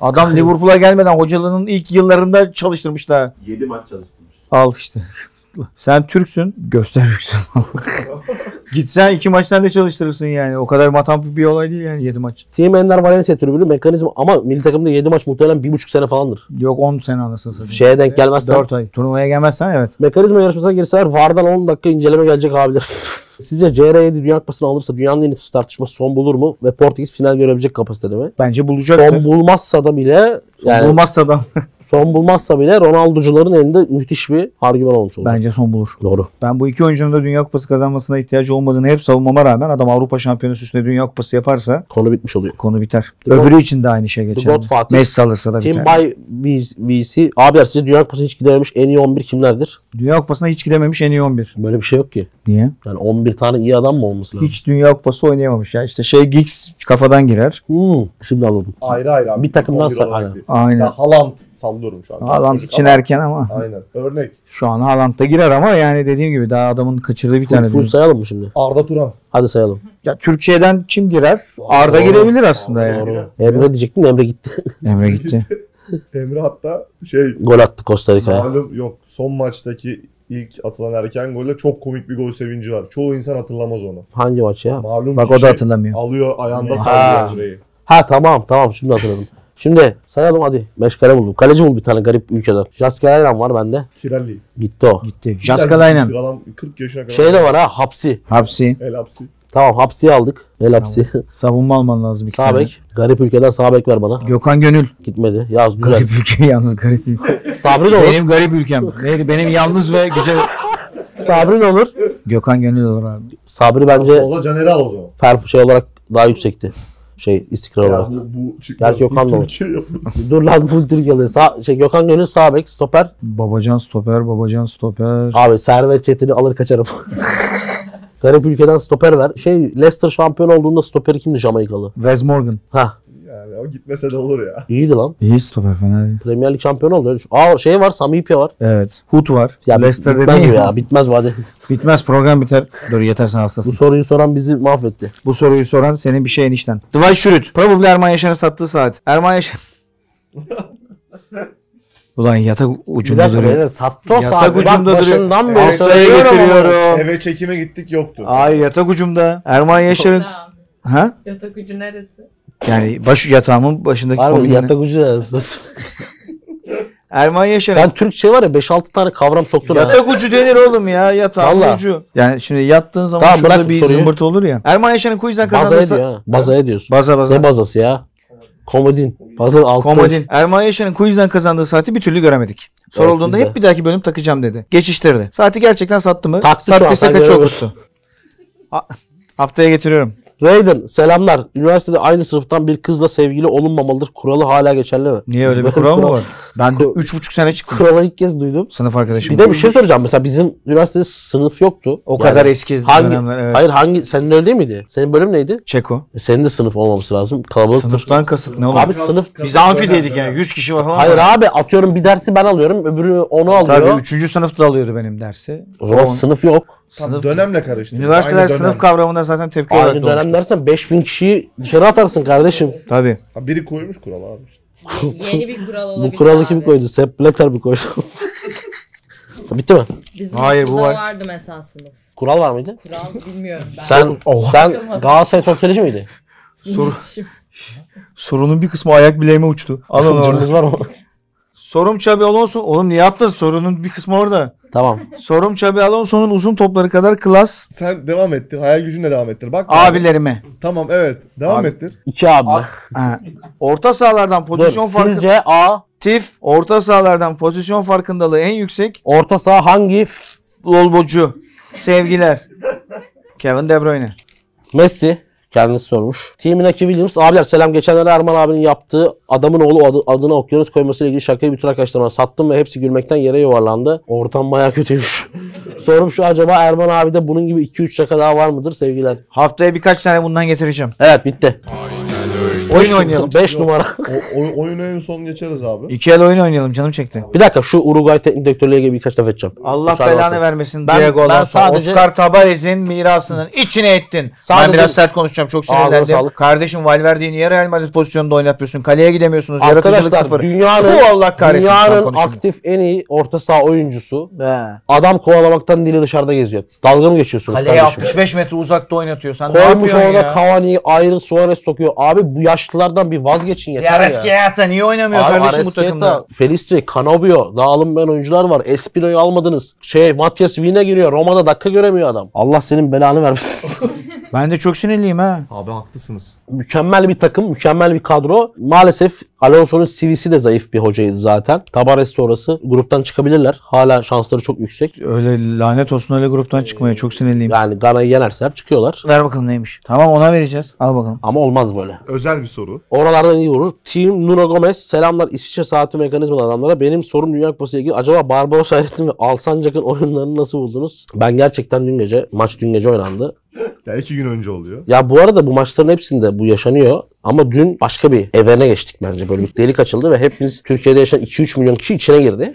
Speaker 1: Adam Liverpool'a gelmeden hocalığının ilk yıllarında çalıştırmış da.
Speaker 4: 7 maç çalıştırmış.
Speaker 1: Al işte. Sen Türksün. Göster Türksün. Gitsen iki maçtan da çalıştırırsın yani. O kadar matan bir olay değil yani 7 maç.
Speaker 2: Team Ender Valencia tribünü mekanizma ama milli takımda 7 maç muhtemelen 1,5 sene falandır.
Speaker 1: Yok 10 sene anasını satayım.
Speaker 2: Şeye denk gelmezsen.
Speaker 1: 4 ay. Turnuvaya gelmezsen evet.
Speaker 2: Mekanizma yarışmasına girseler Vardan 10 dakika inceleme gelecek abiler. Sizce CR7 Dünya Kupası'nı alırsa dünyanın en iyisi tartışması son bulur mu? Ve Portekiz final görebilecek kapasitede mi?
Speaker 1: Bence bulacaktır.
Speaker 2: Son bulmazsa da bile yani
Speaker 1: Bulmazsa da
Speaker 2: son bulmazsa bile Ronaldo'cuların elinde müthiş bir argüman olmuş olacak.
Speaker 1: bence son bulur.
Speaker 2: Doğru.
Speaker 1: Ben bu iki oyuncunun da Dünya Kupası kazanmasına ihtiyacı olmadığını hep savunmama rağmen adam Avrupa Şampiyonası üstüne Dünya Kupası yaparsa
Speaker 2: Konu bitmiş oluyor.
Speaker 1: konu biter.
Speaker 2: The God-
Speaker 1: Öbürü için de aynı şey geçerli.
Speaker 2: God Fatih.
Speaker 1: Messi alırsa da biter.
Speaker 2: Team Bay VC. Abiler sizce Dünya Kupası'na hiç gidememiş en iyi 11 kimlerdir?
Speaker 1: Dünya Kupası'na hiç gidememiş en iyi 11.
Speaker 2: Böyle bir şey yok ki.
Speaker 1: Niye?
Speaker 2: Yani 11 tane iyi adam mı olması lazım?
Speaker 1: Hiç Dünya Kupası oynayamamış ya. İşte şey Giggs kafadan girer.
Speaker 2: Hmm, şimdi anladım.
Speaker 3: Ayrı ayrı abi.
Speaker 2: Bir takımdan
Speaker 3: Kombi
Speaker 2: sa-
Speaker 3: olarak
Speaker 2: aynen.
Speaker 3: değil.
Speaker 1: Aynen.
Speaker 3: Mesela Haaland sallıyorum şu an.
Speaker 1: Haaland
Speaker 3: Çocuk
Speaker 1: için
Speaker 3: ama-
Speaker 1: erken ama
Speaker 3: Aynen. Örnek.
Speaker 1: şu an Haaland da girer ama yani dediğim gibi daha adamın kaçırdığı bir
Speaker 2: Full,
Speaker 1: tane.
Speaker 2: full
Speaker 1: dünya-
Speaker 2: sayalım mı şimdi?
Speaker 3: Arda Turan.
Speaker 2: Hadi sayalım.
Speaker 1: Ya Türkiye'den kim girer? Arda
Speaker 3: Doğru.
Speaker 1: girebilir aslında
Speaker 3: Doğru.
Speaker 1: yani.
Speaker 3: Doğru.
Speaker 2: Emre diyecektim de Emre gitti.
Speaker 1: Emre gitti.
Speaker 3: Emre hatta şey
Speaker 2: Gol attı Costa Rica'ya.
Speaker 3: malum yok son maçtaki ilk atılan erken golle çok komik bir gol sevinci var. Çoğu insan hatırlamaz onu.
Speaker 2: Hangi maç ya?
Speaker 3: Malum
Speaker 1: Bak o
Speaker 3: kişi
Speaker 1: da hatırlamıyor.
Speaker 3: alıyor ayağında
Speaker 1: Ha.
Speaker 3: sallıyor Emre'yi.
Speaker 2: Ha tamam tamam şimdi hatırladım. Şimdi sayalım hadi. Beş kale buldum. Kaleci bul bir tane garip ülkeden. Jaskelainen var bende.
Speaker 3: Kirali.
Speaker 2: Gitti o.
Speaker 1: Gitti.
Speaker 3: Bir
Speaker 1: Jaskalainen.
Speaker 3: Adam 40 yaşına kadar.
Speaker 2: Şey de var ha Hapsi.
Speaker 1: Hapsi.
Speaker 3: El hapsi.
Speaker 2: Tamam Hapsi'yi aldık. El Hapsi.
Speaker 1: Savunma alman lazım. iki tane.
Speaker 2: Sabek. Garip ülkeden Sabek ver bana.
Speaker 1: Gökhan Gönül.
Speaker 2: Gitmedi. Yaz güzel.
Speaker 1: Garip ülke yalnız garip ülke.
Speaker 2: Sabri de olur.
Speaker 1: Benim garip ülkem. Neydi? Benim yalnız ve güzel.
Speaker 2: Sabri de olur.
Speaker 1: Gökhan Gönül olur abi.
Speaker 2: Sabri bence
Speaker 3: Ola Caner'i al o zaman.
Speaker 2: perf şey olarak daha yüksekti. Şey istikrar
Speaker 3: Ya
Speaker 2: olarak.
Speaker 3: bu, bu çıkmaz.
Speaker 2: Gerçi Gökhan da olur.
Speaker 3: Türkiye yapıyor.
Speaker 2: Dur lan full Türkiye'li. Sağ, şey, Gökhan Gönül sağ bek stoper.
Speaker 1: Babacan stoper, Babacan stoper.
Speaker 2: Abi servet çetini alır kaçarım. Garip ülkeden stoper ver. Şey Leicester şampiyon olduğunda stoperi kimdi Jamaikalı?
Speaker 1: Wes Morgan.
Speaker 2: Ha
Speaker 3: Yani o gitmese de olur ya.
Speaker 2: iyiydi lan.
Speaker 1: İyi stoper fena değil.
Speaker 2: Premier Lig şampiyonu oldu. öyle düşün. Aa şey var Samipe var.
Speaker 1: Evet. Hood var.
Speaker 2: Ya
Speaker 1: Leicester
Speaker 2: bitmez
Speaker 1: dediğin
Speaker 2: bu
Speaker 1: ya.
Speaker 2: ya bitmez vade.
Speaker 1: Bitmez program biter. Dur yeter sen
Speaker 2: bu
Speaker 1: hastasın.
Speaker 2: soruyu soran bizi mahvetti.
Speaker 1: Bu soruyu soran senin bir şey enişten. Dwight Schrute. Probably Erman Yaşar'ın sattığı saat. Erman Yaşar. Ulan yatak
Speaker 2: Bir
Speaker 1: ucunda
Speaker 2: dakika
Speaker 1: duruyor.
Speaker 2: beyler, sattı o
Speaker 1: Yatak
Speaker 2: saati. Bak
Speaker 1: ucunda duruyor.
Speaker 2: başından beri
Speaker 1: Haftaya
Speaker 2: söylüyorum ama.
Speaker 1: getiriyorum.
Speaker 3: Eve çekime gittik yoktu.
Speaker 1: Hayır yatak ucumda. Erman Yaşar'ın... ha?
Speaker 5: Yatak ucu neresi?
Speaker 1: Yani baş yatağımın başındaki
Speaker 2: Var mı
Speaker 1: kombinle.
Speaker 2: yatak ucu da-
Speaker 1: Erman Yaşar'ın...
Speaker 2: Sen Türkçe var ya 5-6 tane kavram soktun ha.
Speaker 1: Yatak ucu denir oğlum ya yatağın
Speaker 2: Vallahi.
Speaker 1: ucu. Yani şimdi yattığın zaman
Speaker 2: Tamam,
Speaker 1: şurada
Speaker 2: bırak
Speaker 1: bir
Speaker 2: soruyu.
Speaker 1: zımbırtı olur ya. Erman Yaşar'ın quizden
Speaker 2: Baza
Speaker 1: kazandığı
Speaker 2: ediyor
Speaker 1: saat...
Speaker 2: ha. Baza ediyorsun.
Speaker 1: Baza baza.
Speaker 2: Ne bazası ya? Komodin. Baza altı.
Speaker 1: Komodin. Erman Yaşar'ın quizden kazandığı saati bir türlü göremedik. Sorulduğunda
Speaker 2: biz de.
Speaker 1: hep bir dahaki bölüm takacağım dedi. Geçiştirdi. Saati gerçekten sattı mı?
Speaker 2: Taktı şu an,
Speaker 1: Sattıysa
Speaker 2: sen
Speaker 1: kaç
Speaker 2: göremiyorsun.
Speaker 1: olursun? Ha- Haftaya getiriyorum.
Speaker 2: Raiden selamlar. Üniversitede aynı sınıftan bir kızla sevgili olunmamalıdır. Kuralı hala geçerli mi?
Speaker 1: Niye öyle bir
Speaker 2: Böyle
Speaker 1: kural mı
Speaker 2: kural-
Speaker 1: var? Ben de
Speaker 2: kural-
Speaker 1: 3,5 sene çıktım.
Speaker 2: Kuralı ilk kez duydum.
Speaker 1: Sınıf
Speaker 2: Bir
Speaker 1: arkadaşım.
Speaker 2: de bir şey soracağım. Mesela bizim üniversitede sınıf yoktu.
Speaker 1: o
Speaker 2: Yani
Speaker 1: kadar eski
Speaker 2: hangi,
Speaker 1: dönemler. Evet.
Speaker 2: Hayır hangi? Senin öyle değil miydi? Senin bölüm neydi?
Speaker 1: Çeko.
Speaker 2: E, Senin de sınıf olmaması lazım. Kalabalıktır.
Speaker 1: Sınıftan kasıt ne oğlum?
Speaker 2: Abi sınıf-
Speaker 1: Biz amfideydik yani. 100 kişi var falan.
Speaker 2: Hayır abi atıyorum bir dersi ben alıyorum. Öbürü onu alıyor.
Speaker 1: Tabii 3. sınıfta alıyordu benim dersi.
Speaker 2: O zaman
Speaker 1: On-
Speaker 2: sınıf yok.
Speaker 1: sınıf-
Speaker 3: Dönemle karıştı.
Speaker 1: Üniversiteler
Speaker 3: Aynı dönem.
Speaker 1: sınıf kavramına zaten tepki olarak
Speaker 2: Aynı
Speaker 1: doğmuştu.
Speaker 2: dönem dersen 5000 kişiyi dışarı atarsın kardeşim.
Speaker 1: Tabii.
Speaker 3: Ha, Biri koymuş kural abi.
Speaker 5: Yeni bir kural olabilir
Speaker 2: Bu kuralı kim
Speaker 5: abi.
Speaker 2: koydu? Sepp Blatter mi koydu? Bitti mi?
Speaker 5: Bizim
Speaker 1: Hayır, bu
Speaker 5: okulda
Speaker 1: var.
Speaker 5: vardı mesela sınıf.
Speaker 2: Kural var mıydı?
Speaker 5: Kural bilmiyorum ben.
Speaker 2: Sen sen
Speaker 5: Hatırlamadım.
Speaker 2: Galatasaray sosyoloji miydi?
Speaker 1: Soru,
Speaker 5: İletişim.
Speaker 1: sorunun bir kısmı ayak bileğime uçtu. Al onu orada.
Speaker 2: Sorucunuz var mı?
Speaker 1: Sorum Xabi Alonso. Oğlum niye yaptın? Sorunun bir kısmı orada.
Speaker 2: tamam.
Speaker 1: Sorum Xabi Alonso'nun uzun topları kadar klas
Speaker 3: Sen devam ettir. Hayal gücünle devam ettir. Bak.
Speaker 1: abilerime.
Speaker 3: Tamam evet. Devam
Speaker 1: Abi.
Speaker 3: ettir.
Speaker 2: İki abi.
Speaker 1: Ha. Orta sahalardan
Speaker 2: Dur.
Speaker 1: pozisyon farkı.
Speaker 2: Sizce A
Speaker 1: Tif. Orta sahalardan pozisyon farkındalığı en yüksek.
Speaker 2: orta saha hangi? F-
Speaker 1: Lolbocu. Sevgiler. Kevin De Bruyne.
Speaker 2: Messi kendisi sormuş. Team'in Aki Williams. Abiler selam. Geçenlerde Erman abinin yaptığı adamın oğlu adı, adına okyanus koymasıyla ilgili şakayı bütün arkadaşlarıma sattım ve hepsi gülmekten yere yuvarlandı. Ortam baya kötüymüş. Sorum şu acaba Erman abi de bunun gibi 2-3 şaka daha var mıdır sevgiler?
Speaker 1: Haftaya birkaç tane bundan getireceğim.
Speaker 2: Evet bitti.
Speaker 1: Oyun oynayalım.
Speaker 2: 5 numara.
Speaker 3: O, o, oyunu en son geçeriz abi.
Speaker 1: İki el oyun oynayalım canım çekti.
Speaker 2: Bir dakika şu Uruguay teknik direktörlüğe ilgili birkaç laf edeceğim.
Speaker 1: Allah
Speaker 2: Müsaade
Speaker 1: belanı
Speaker 2: olsun.
Speaker 1: vermesin
Speaker 2: Ben-
Speaker 1: Diego
Speaker 2: ben
Speaker 1: Alonso.
Speaker 2: sadece-
Speaker 1: Oscar Tabarez'in mirasının içine ettin.
Speaker 2: Sadece-
Speaker 1: ben biraz sert konuşacağım. Çok
Speaker 2: Ağzına
Speaker 1: sinirlendim.
Speaker 2: sağlık.
Speaker 1: Kardeşim Valverde'yi niye Real Madrid pozisyonunda oynatmıyorsun? Kaleye gidemiyorsunuz. Yaratıcılık sıfır.
Speaker 2: dünyanın,
Speaker 1: Bu Allah kahretsin.
Speaker 2: dünyanın
Speaker 1: Tam konuşamadım.
Speaker 2: aktif en iyi orta saha oyuncusu.
Speaker 1: Be.
Speaker 2: Adam kovalamaktan dili dışarıda geziyor. Dalga mı geçiyorsunuz
Speaker 1: Kaleye
Speaker 2: kardeşim?
Speaker 1: 65 metre uzakta oynatıyor. Sen ne
Speaker 2: Koymuş
Speaker 1: yapıyorsun
Speaker 2: orada
Speaker 1: ya?
Speaker 2: Cavani'yi ayrı Suarez sokuyor. Abi bu yaşlılardan bir vazgeçin yeter ya.
Speaker 1: Araskeata niye oynamıyor
Speaker 2: Abi
Speaker 1: kardeşim bu takımda?
Speaker 2: Arrascaeta, Pelistri, Canobio, daha alınmayan oyuncular var. Espino'yu almadınız. Şey, Matias Vine giriyor. Roma'da dakika göremiyor adam. Allah senin belanı vermesin.
Speaker 1: Ben de çok sinirliyim ha.
Speaker 3: Abi haklısınız.
Speaker 2: mükemmel bir takım, mükemmel bir kadro. Maalesef Alonso'nun CV'si de zayıf bir hocaydı zaten. Tabares sonrası gruptan çıkabilirler. Hala şansları çok yüksek.
Speaker 1: Öyle lanet olsun öyle gruptan çıkmaya. Çok sinirliyim.
Speaker 2: Yani Gana'yı yenerseler çıkıyorlar.
Speaker 1: Ver bakalım neymiş. Tamam ona vereceğiz. Al bakalım.
Speaker 2: Ama olmaz böyle.
Speaker 3: Özel bir soru.
Speaker 2: Oralardan iyi vurur. Team Nuno Gomez selamlar İsviçre saati mekanizmalı adamlara. Benim sorum Dünya Kupası ile ilgili. Acaba Barbaros Hayrettin ve Alsancak'ın oyunlarını nasıl buldunuz? Ben gerçekten dün gece, maç dün gece oynandı.
Speaker 3: Ya iki gün önce oluyor.
Speaker 2: Ya bu arada bu maçların hepsinde bu yaşanıyor. Ama dün başka bir evrene geçtik bence. Böyle bir delik açıldı ve hepimiz Türkiye'de yaşayan 2-3 milyon kişi içine girdi.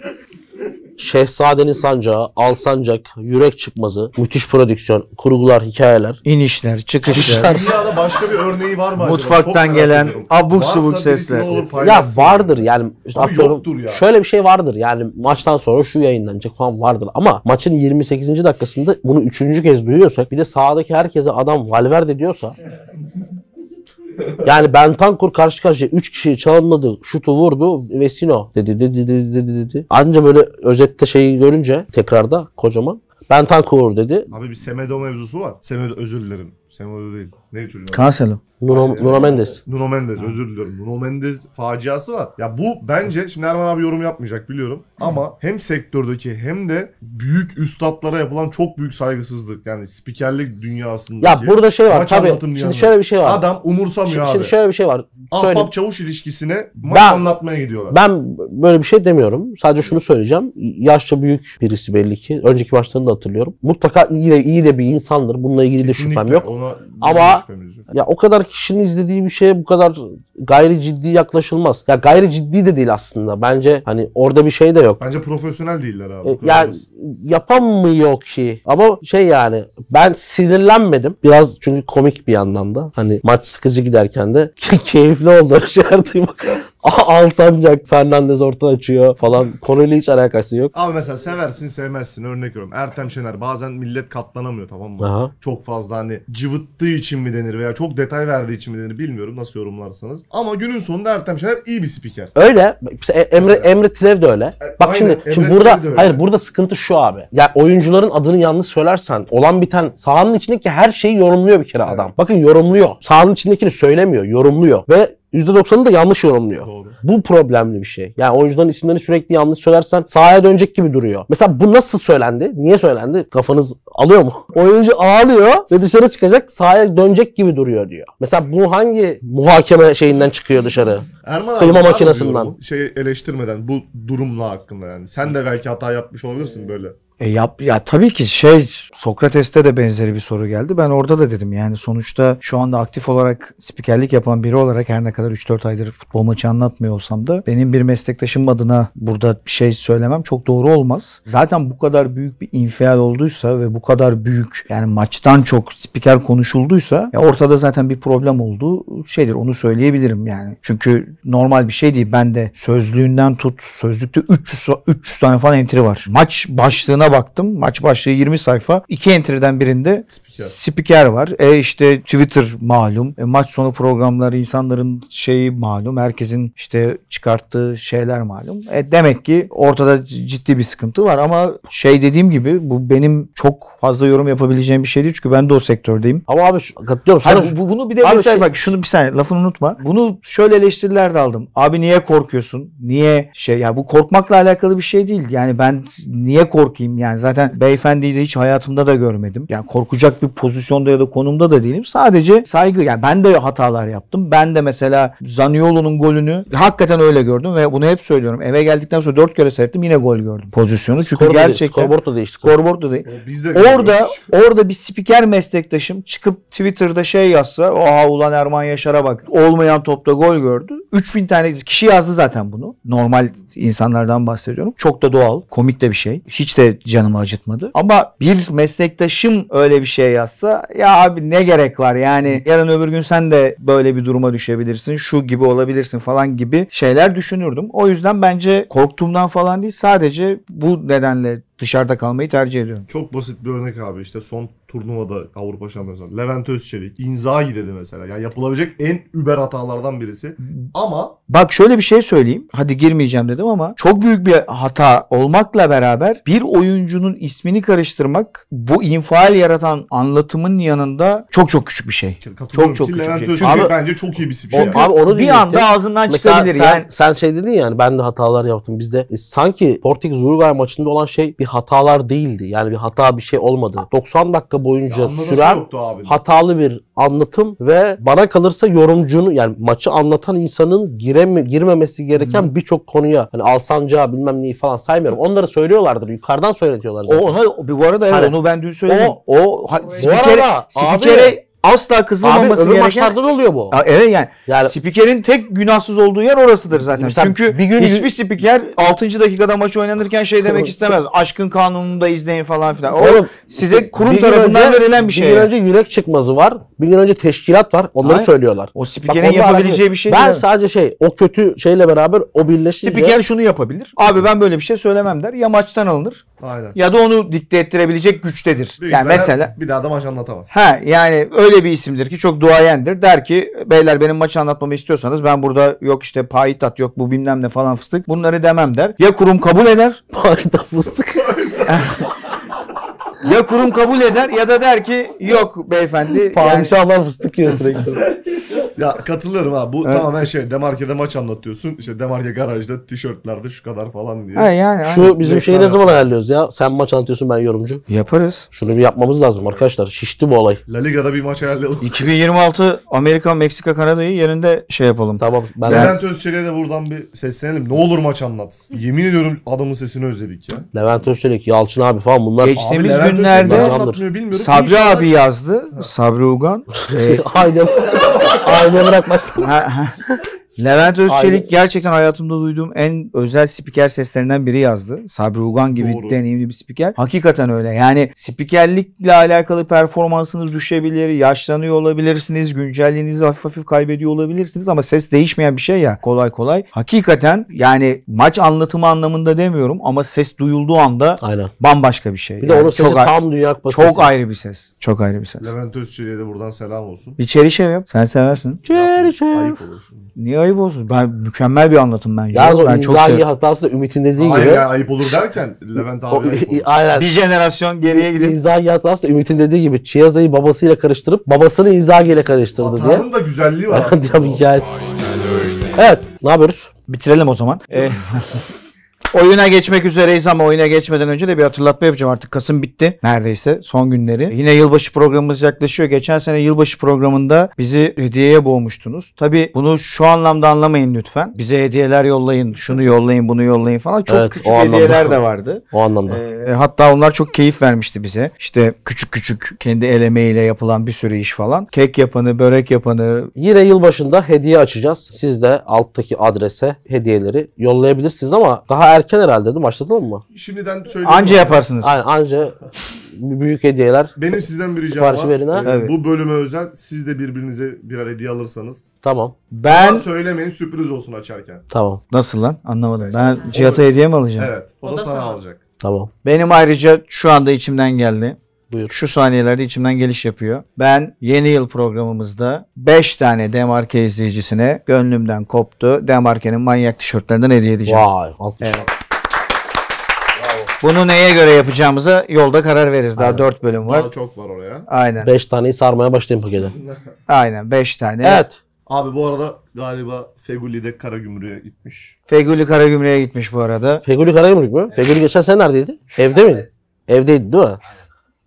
Speaker 2: Şehzadenin sancağı, Alsancak, Yürek Çıkmazı, müthiş prodüksiyon, kurgular, hikayeler.
Speaker 1: İnişler, çıkışlar.
Speaker 2: İşler
Speaker 3: Dünyada başka bir örneği var mı acaba?
Speaker 1: Mutfaktan
Speaker 3: Çok merak
Speaker 1: gelen
Speaker 3: ediyorum.
Speaker 1: abuk
Speaker 3: Varsa
Speaker 1: subuk
Speaker 3: birisi
Speaker 1: sesler.
Speaker 3: ne olur
Speaker 2: Ya
Speaker 3: paylaşsın.
Speaker 2: vardır yani. İşte
Speaker 3: Abi
Speaker 2: atıyorum,
Speaker 3: yoktur ya.
Speaker 2: Şöyle bir şey vardır yani maçtan sonra şu yayınlanacak falan vardır. Ama maçın 28. dakikasında bunu üçüncü kez duyuyorsak bir de sahadaki herkese adam Valverde diyorsa yani Bentancur karşı karşıya 3 kişiyi çalımladı, şutu vurdu, Vesino dedi dedi dedi dedi dedi. Anca böyle özette şeyi görünce tekrarda kocaman Bentancur dedi.
Speaker 3: Abi bir Semedo mevzusu var. Semedo özür dilerim. Semodo değil. Ne çocuğun adı?
Speaker 1: Cancelo.
Speaker 2: Nuno, Nuno Mendes.
Speaker 3: Nuno Mendes özür diliyorum. Nuno Mendes faciası var. Ya bu bence şimdi Erman abi yorum yapmayacak biliyorum ama hem sektördeki hem de büyük üstatlara yapılan çok büyük saygısızlık yani spikerlik dünyasındaki.
Speaker 2: Ya burada şey var
Speaker 3: Maç
Speaker 2: tabii.
Speaker 3: anlatım
Speaker 2: Şimdi
Speaker 3: dünyanın.
Speaker 2: şöyle bir şey var.
Speaker 3: adam umursamıyor
Speaker 2: şimdi,
Speaker 3: abi.
Speaker 2: şimdi şöyle bir şey var. Söyle.
Speaker 3: Ahbap çavuş ilişkisine maç
Speaker 2: Ben-
Speaker 3: anlatmaya gidiyorlar.
Speaker 2: Ben böyle bir şey demiyorum. Sadece şunu söyleyeceğim. Yaşça büyük birisi belli ki. Önceki maçlarını da hatırlıyorum. Mutlaka iyi de iyi de bir insandır. Bununla ilgili de şüphem yok.
Speaker 3: Ona
Speaker 2: Ama-
Speaker 3: şüphemiz yok.
Speaker 2: Ya o kadar kişinin izlediği bir şeye bu kadar gayri ciddi yaklaşılmaz. Ya gayri ciddi de değil aslında. Bence hani orada bir şey de yok.
Speaker 3: Bence profesyonel değiller abi.
Speaker 2: E,
Speaker 3: Bu kadar
Speaker 2: Yani
Speaker 3: basit.
Speaker 2: yapamıyor ki. Ama şey yani ben sinirlenmedim. Biraz çünkü komik bir yandan da. Hani maç sıkıcı giderken de keyifli oldu öyle şeyler duymak. Aa, Alsancak Fernandez orta açıyor falan. Konuyla hiç alakası yok.
Speaker 3: Abi mesela seversin sevmezsin örnek veriyorum. Ertem Şener bazen millet katlanamıyor tamam mı?
Speaker 2: Aha.
Speaker 3: Çok fazla hani cıvıttığı için mi denir veya çok detay verdiği için mi denir bilmiyorum nasıl yorumlarsanız. Ama günün sonunda Ertem Şener iyi bir spiker.
Speaker 2: Öyle. Mesela E- Emre
Speaker 3: Mesela.
Speaker 2: Emre Tilev de öyle. Bak
Speaker 3: E, aynen,
Speaker 2: şimdi
Speaker 3: Emre
Speaker 2: şimdi
Speaker 3: Tilev
Speaker 2: burada
Speaker 3: de öyle.
Speaker 2: hayır burada sıkıntı şu abi. Ya oyuncuların adını yanlış söylersen olan biten sahanın içindeki her şeyi yorumluyor bir kere adam. Bakın yorumluyor. Sahanın içindekini söylemiyor, yorumluyor ve %90'ını da yanlış yorumluyor.
Speaker 3: Doğru.
Speaker 2: Bu problemli bir şey. Yani oyuncuların isimlerini sürekli yanlış söylersen sahaya dönecek gibi duruyor. Mesela bu nasıl söylendi? Niye söylendi? Kafanız alıyor mu? Oyuncu ağlıyor ve dışarı çıkacak sahaya dönecek gibi duruyor diyor. Mesela bu hangi muhakeme şeyinden çıkıyor dışarı?
Speaker 3: Erman
Speaker 2: Kıyma
Speaker 3: var mı
Speaker 2: makinesinden.
Speaker 3: yorumu? Şey eleştirmeden bu durumla hakkında yani. Sen de belki hata yapmış olabilirsin böyle.
Speaker 1: E yap, ya tabii ki şey Sokrates'te de benzeri bir soru geldi. Ben orada da dedim yani sonuçta şu anda aktif olarak spikerlik yapan biri olarak her ne kadar 3-4 aydır futbol maçı anlatmıyor olsam da benim bir meslektaşım adına burada bir şey söylemem çok doğru olmaz. Zaten bu kadar büyük bir infial olduysa ve bu kadar büyük yani maçtan çok spiker konuşulduysa ya ortada zaten bir problem olduğu şeydir. Onu söyleyebilirim yani. Çünkü normal bir şey değil. Ben de sözlüğünden tut sözlükte 300 sa- 300 tane falan entry var. Maç başlığına baktım. Maç başlığı 20 sayfa. İki entry'den birinde
Speaker 3: Spiker.
Speaker 1: spiker var. E işte Twitter malum. E maç sonu programları insanların şeyi malum. Herkesin işte çıkarttığı şeyler malum. E demek ki ortada c- ciddi bir sıkıntı var ama şey dediğim gibi bu benim çok fazla yorum yapabileceğim bir şey değil çünkü ben de o sektördeyim.
Speaker 2: Ama abi şu- katılıyorum sana.
Speaker 1: Hayır, Hani bu- bunu bir de
Speaker 2: Abi
Speaker 1: mesela
Speaker 2: şey-
Speaker 1: bak şunu bir saniye lafını unutma. Bunu şöyle eleştiriler de aldım. Abi niye korkuyorsun? Niye şey ya bu korkmakla alakalı bir şey değil. Yani ben niye korkayım? Yani zaten beyefendiyi de hiç hayatımda da görmedim. Yani korkacak bir pozisyonda ya da konumda da değilim. Sadece saygı. Yani ben de hatalar yaptım. Ben de mesela Zaniolo'nun golünü hakikaten öyle gördüm ve bunu hep söylüyorum. Eve geldikten sonra dört kere seyrettim yine gol gördüm pozisyonu. Çünkü
Speaker 2: Skorboard-
Speaker 1: gerçekten
Speaker 2: Skorboard da değişti.
Speaker 1: skorboard da değil.
Speaker 3: Biz de
Speaker 1: Orada orada bir spiker meslektaşım çıkıp Twitter'da şey yazsa oha ulan Erman Yaşar'a bak olmayan topta gol gördü. 3000 tane kişi yazdı zaten bunu. Normal insanlardan bahsediyorum. Çok da doğal. Komik de bir şey. Hiç de canımı acıtmadı. Ama bir meslektaşım öyle bir şey yazsa ya abi ne gerek var yani yarın öbür gün sen de böyle bir duruma düşebilirsin. Şu gibi olabilirsin falan gibi şeyler düşünürdüm. O yüzden bence korktuğumdan falan değil sadece bu nedenle dışarıda kalmayı tercih ediyorum.
Speaker 3: Çok basit bir örnek abi işte son turnuvada Avrupa Şampiyonası. Levent Özçelik, Inzaghi dedi mesela. Yani yapılabilecek en über hatalardan birisi. Ama
Speaker 1: Bak şöyle bir şey söyleyeyim. Hadi girmeyeceğim dedim ama çok büyük bir hata olmakla beraber bir oyuncunun ismini karıştırmak bu infial yaratan anlatımın yanında çok çok küçük bir şey.
Speaker 3: katılıyorum
Speaker 1: çok
Speaker 3: ki
Speaker 1: küçük
Speaker 3: Levent
Speaker 1: bir şey.
Speaker 3: Özçelik
Speaker 2: Abi-
Speaker 3: bence çok iyi bir spiker.
Speaker 1: Çünkü
Speaker 2: abi onu
Speaker 1: bir
Speaker 2: diyecektim.
Speaker 1: anda ağzından
Speaker 2: Mesela
Speaker 1: çıkabilir
Speaker 2: sen,
Speaker 1: yani.
Speaker 2: sen şey dedin ya hani ben de hatalar yaptım. Bizde e, sanki Portekiz Uruguay maçında olan şey bir hatalar değildi. Yani bir hata bir şey olmadı. 90 dakika boyunca
Speaker 3: Anlaması
Speaker 2: süren
Speaker 3: yoktu abi.
Speaker 2: hatalı bir anlatım ve bana kalırsa yorumcunun yani maçı anlatan insanın gireme, girmemesi gereken birçok konuya hani Alsanca bilmem neyi falan saymıyorum. Onları söylüyorlardır. Yukarıdan söyletiyorlar
Speaker 1: O
Speaker 2: zaten.
Speaker 1: ona bu arada evet,
Speaker 2: Hani-
Speaker 1: onu ben dün söyledim. O, o ha-
Speaker 5: Bu
Speaker 1: spikere,
Speaker 2: arada abi-
Speaker 1: spikere asla
Speaker 2: Abi
Speaker 1: kızılmaması
Speaker 2: öbür
Speaker 1: gereken
Speaker 2: maçlarda da oluyor bu.
Speaker 1: Aa, Evet yani,
Speaker 2: Yani
Speaker 1: spikerin tek günahsız olduğu yer orasıdır zaten.
Speaker 2: Mesela
Speaker 1: Çünkü
Speaker 2: bir gün-
Speaker 1: hiçbir şey- spiker 6. dakikada maç oynanırken şey demek istemez. Aşkın kanununu da izleyin falan filan. O,
Speaker 2: Oğlum,
Speaker 1: size kurum
Speaker 2: bir gün
Speaker 1: tarafından
Speaker 2: önce-
Speaker 1: verilen bir şey.
Speaker 2: Bir gün
Speaker 1: yani.
Speaker 2: önce yürek çıkmazı var. Bir gün önce teşkilat var. Onları
Speaker 1: Hayır.
Speaker 2: söylüyorlar.
Speaker 1: O
Speaker 2: Bak
Speaker 1: spikerin
Speaker 2: onunla
Speaker 1: yapabileceği
Speaker 2: alakalı-
Speaker 1: bir şey
Speaker 2: Ben
Speaker 1: değil.
Speaker 2: sadece şey o kötü şeyle beraber o birleşince
Speaker 1: Spiker şunu yapabilir. Abi ben böyle bir şey söylemem der. Ya maçtan alınır
Speaker 3: Aynen.
Speaker 1: ya da onu dikte ettirebilecek güçtedir.
Speaker 3: Büyük
Speaker 1: yani
Speaker 3: ihtimalle
Speaker 1: mesela
Speaker 3: Bir daha da maç anlatamaz.
Speaker 1: Ha yani öyle bir isimdir ki çok duayendir. Der ki beyler benim maçı anlatmamı istiyorsanız ben burada yok işte payitat yok bu bilmem ne falan fıstık bunları demem der. Ya kurum kabul eder
Speaker 2: payda fıstık.
Speaker 1: ya kurum kabul eder ya da der ki yok beyefendi. yani-
Speaker 2: Padişahlar fıstık yiyor sürekli.
Speaker 3: Ya katılıyorum ha. Bu
Speaker 1: Evet.
Speaker 3: tamamen şey Demarke'de maç anlatıyorsun. İşte Demarke garajda tişörtlerde şu kadar falan diye.
Speaker 1: Ha, yani, aynen.
Speaker 2: Şu bizim şeyi ne zaman ayarlıyoruz ya? Sen maç anlatıyorsun ben yorumcu.
Speaker 1: Yaparız.
Speaker 2: Şunu bir yapmamız lazım arkadaşlar. Şişti bu olay.
Speaker 3: La Liga'da bir maç ayarlayalım.
Speaker 1: 2026 Amerika, Meksika, Kanada'yı yerinde şey yapalım.
Speaker 2: Tamam ben
Speaker 3: Levent Özçelik'e de buradan bir seslenelim. Ne olur maç anlat. Yemin ediyorum adamın sesini özledik ya.
Speaker 2: Levent Özçelik, Yalçın abi falan bunlar.
Speaker 1: Geç- Geçtiğimiz
Speaker 3: Levent Özçelik
Speaker 1: günlerde-
Speaker 3: ne anlatmıyor bilmiyorum.
Speaker 1: Sabri
Speaker 3: İnşallah-
Speaker 1: abi yazdı. Sabri Ugan. Ee,
Speaker 2: Aynen. Aynen bırakmazsın.
Speaker 1: ha- ha. Levent Özçelik
Speaker 2: Aynen.
Speaker 1: gerçekten hayatımda duyduğum en özel spiker seslerinden biri yazdı. Sabri Ugan gibi
Speaker 3: Doğru.
Speaker 1: deneyimli bir spiker. Hakikaten öyle. Yani spikerlikle alakalı performansınız düşebilir, yaşlanıyor olabilirsiniz, güncelliğinizi hafif hafif kaybediyor olabilirsiniz ama ses değişmeyen bir şey ya kolay kolay. Hakikaten yani maç anlatımı anlamında demiyorum ama ses duyulduğu anda
Speaker 2: Aynen.
Speaker 1: bambaşka bir şey.
Speaker 2: Bir de
Speaker 1: Yani
Speaker 2: onun sesi
Speaker 1: çok, a-
Speaker 2: tam dünya kupası
Speaker 1: çok
Speaker 2: sesi.
Speaker 1: ayrı bir ses. Çok ayrı bir ses.
Speaker 3: Levent Özçelik'e de buradan selam olsun.
Speaker 1: Bir çeri şey yap. Sen seversin.
Speaker 2: Çeri şey.
Speaker 3: Ayıp olur.
Speaker 1: Niye ayıp olsun? Ben mükemmel bir anlatım bence.
Speaker 2: Yalnız o
Speaker 1: ben
Speaker 2: Inzaghi hatası da Ümit'in dediği
Speaker 3: Hayır
Speaker 2: gibi.
Speaker 3: ya, ayıp olur derken Levent
Speaker 2: O,
Speaker 3: abi ayıp olur.
Speaker 2: aynen.
Speaker 1: Bir jenerasyon geriye gidip
Speaker 2: İnzaghi hatası da Ümit'in dediği gibi Chiesa'yı babasıyla karıştırıp babasını Inzaghi ile karıştırdı diye.
Speaker 3: Hatanın da güzelliği var
Speaker 2: Diye bir
Speaker 3: aslında.
Speaker 2: hikaye. Evet ne yapıyoruz?
Speaker 1: bitirelim o zaman. Eh, oyuna geçmek üzereyiz ama oyuna geçmeden önce de bir hatırlatma yapacağım. Artık Kasım bitti. Neredeyse son günleri. Yine yılbaşı programımız yaklaşıyor. Geçen sene yılbaşı programında bizi hediyeye boğmuştunuz. Tabii bunu şu anlamda anlamayın lütfen. Bize hediyeler yollayın. Şunu yollayın, bunu yollayın falan. Çok
Speaker 2: Evet,
Speaker 1: küçük
Speaker 2: o anlamda.
Speaker 1: hediyeler de vardı.
Speaker 2: O anlamda.
Speaker 1: Ee, hatta onlar çok keyif vermişti bize. İşte küçük küçük kendi el emeğiyle yapılan bir sürü iş falan. Kek yapanı, börek yapanı.
Speaker 2: Yine yılbaşında hediye açacağız. Siz de alttaki adrese hediyeleri yollayabilirsiniz ama daha erken herhalde değil mi? Başladın mı?
Speaker 3: Şimdiden söyleyeyim.
Speaker 1: Anca yaparsınız.
Speaker 2: Aynen anca büyük hediyeler.
Speaker 3: Benim sizden bir ricam
Speaker 2: Siparişi
Speaker 3: var.
Speaker 2: verin ha.
Speaker 3: Ee,
Speaker 1: Evet.
Speaker 3: Bu bölüme özel siz de birbirinize birer hediye alırsanız.
Speaker 2: Tamam.
Speaker 3: Ben
Speaker 1: Ben
Speaker 3: söylemeyin sürpriz olsun açarken.
Speaker 2: Tamam.
Speaker 1: nasıl lan? Anlamadım. Ben Cihat'a hediye mi alacağım?
Speaker 3: Evet. O, da, sana alacak.
Speaker 2: Tamam.
Speaker 1: Benim ayrıca şu anda içimden geldi.
Speaker 2: Buyur.
Speaker 1: Şu saniyelerde içimden geliş yapıyor. Ben yeni yıl programımızda 5 tane Demarke izleyicisine gönlümden koptu. Demarke'nin manyak tişörtlerinden hediye edeceğim.
Speaker 2: Vay. alkış.
Speaker 1: Evet. Bunu neye göre yapacağımıza yolda karar veririz. Daha 4 bölüm var.
Speaker 3: Daha çok var oraya.
Speaker 1: Aynen.
Speaker 2: Beş taneyi sarmaya başlayın pakete.
Speaker 1: Aynen 5 tane.
Speaker 2: Evet.
Speaker 3: Abi bu arada galiba Feguli'de Karagümrük'e gitmiş.
Speaker 1: Fegüli Karagümrük'e gitmiş bu arada.
Speaker 2: Fegülü Karagümrük mü? Fegülü geçen sene neredeydi? Evde miydi? Evdeydi değil mi?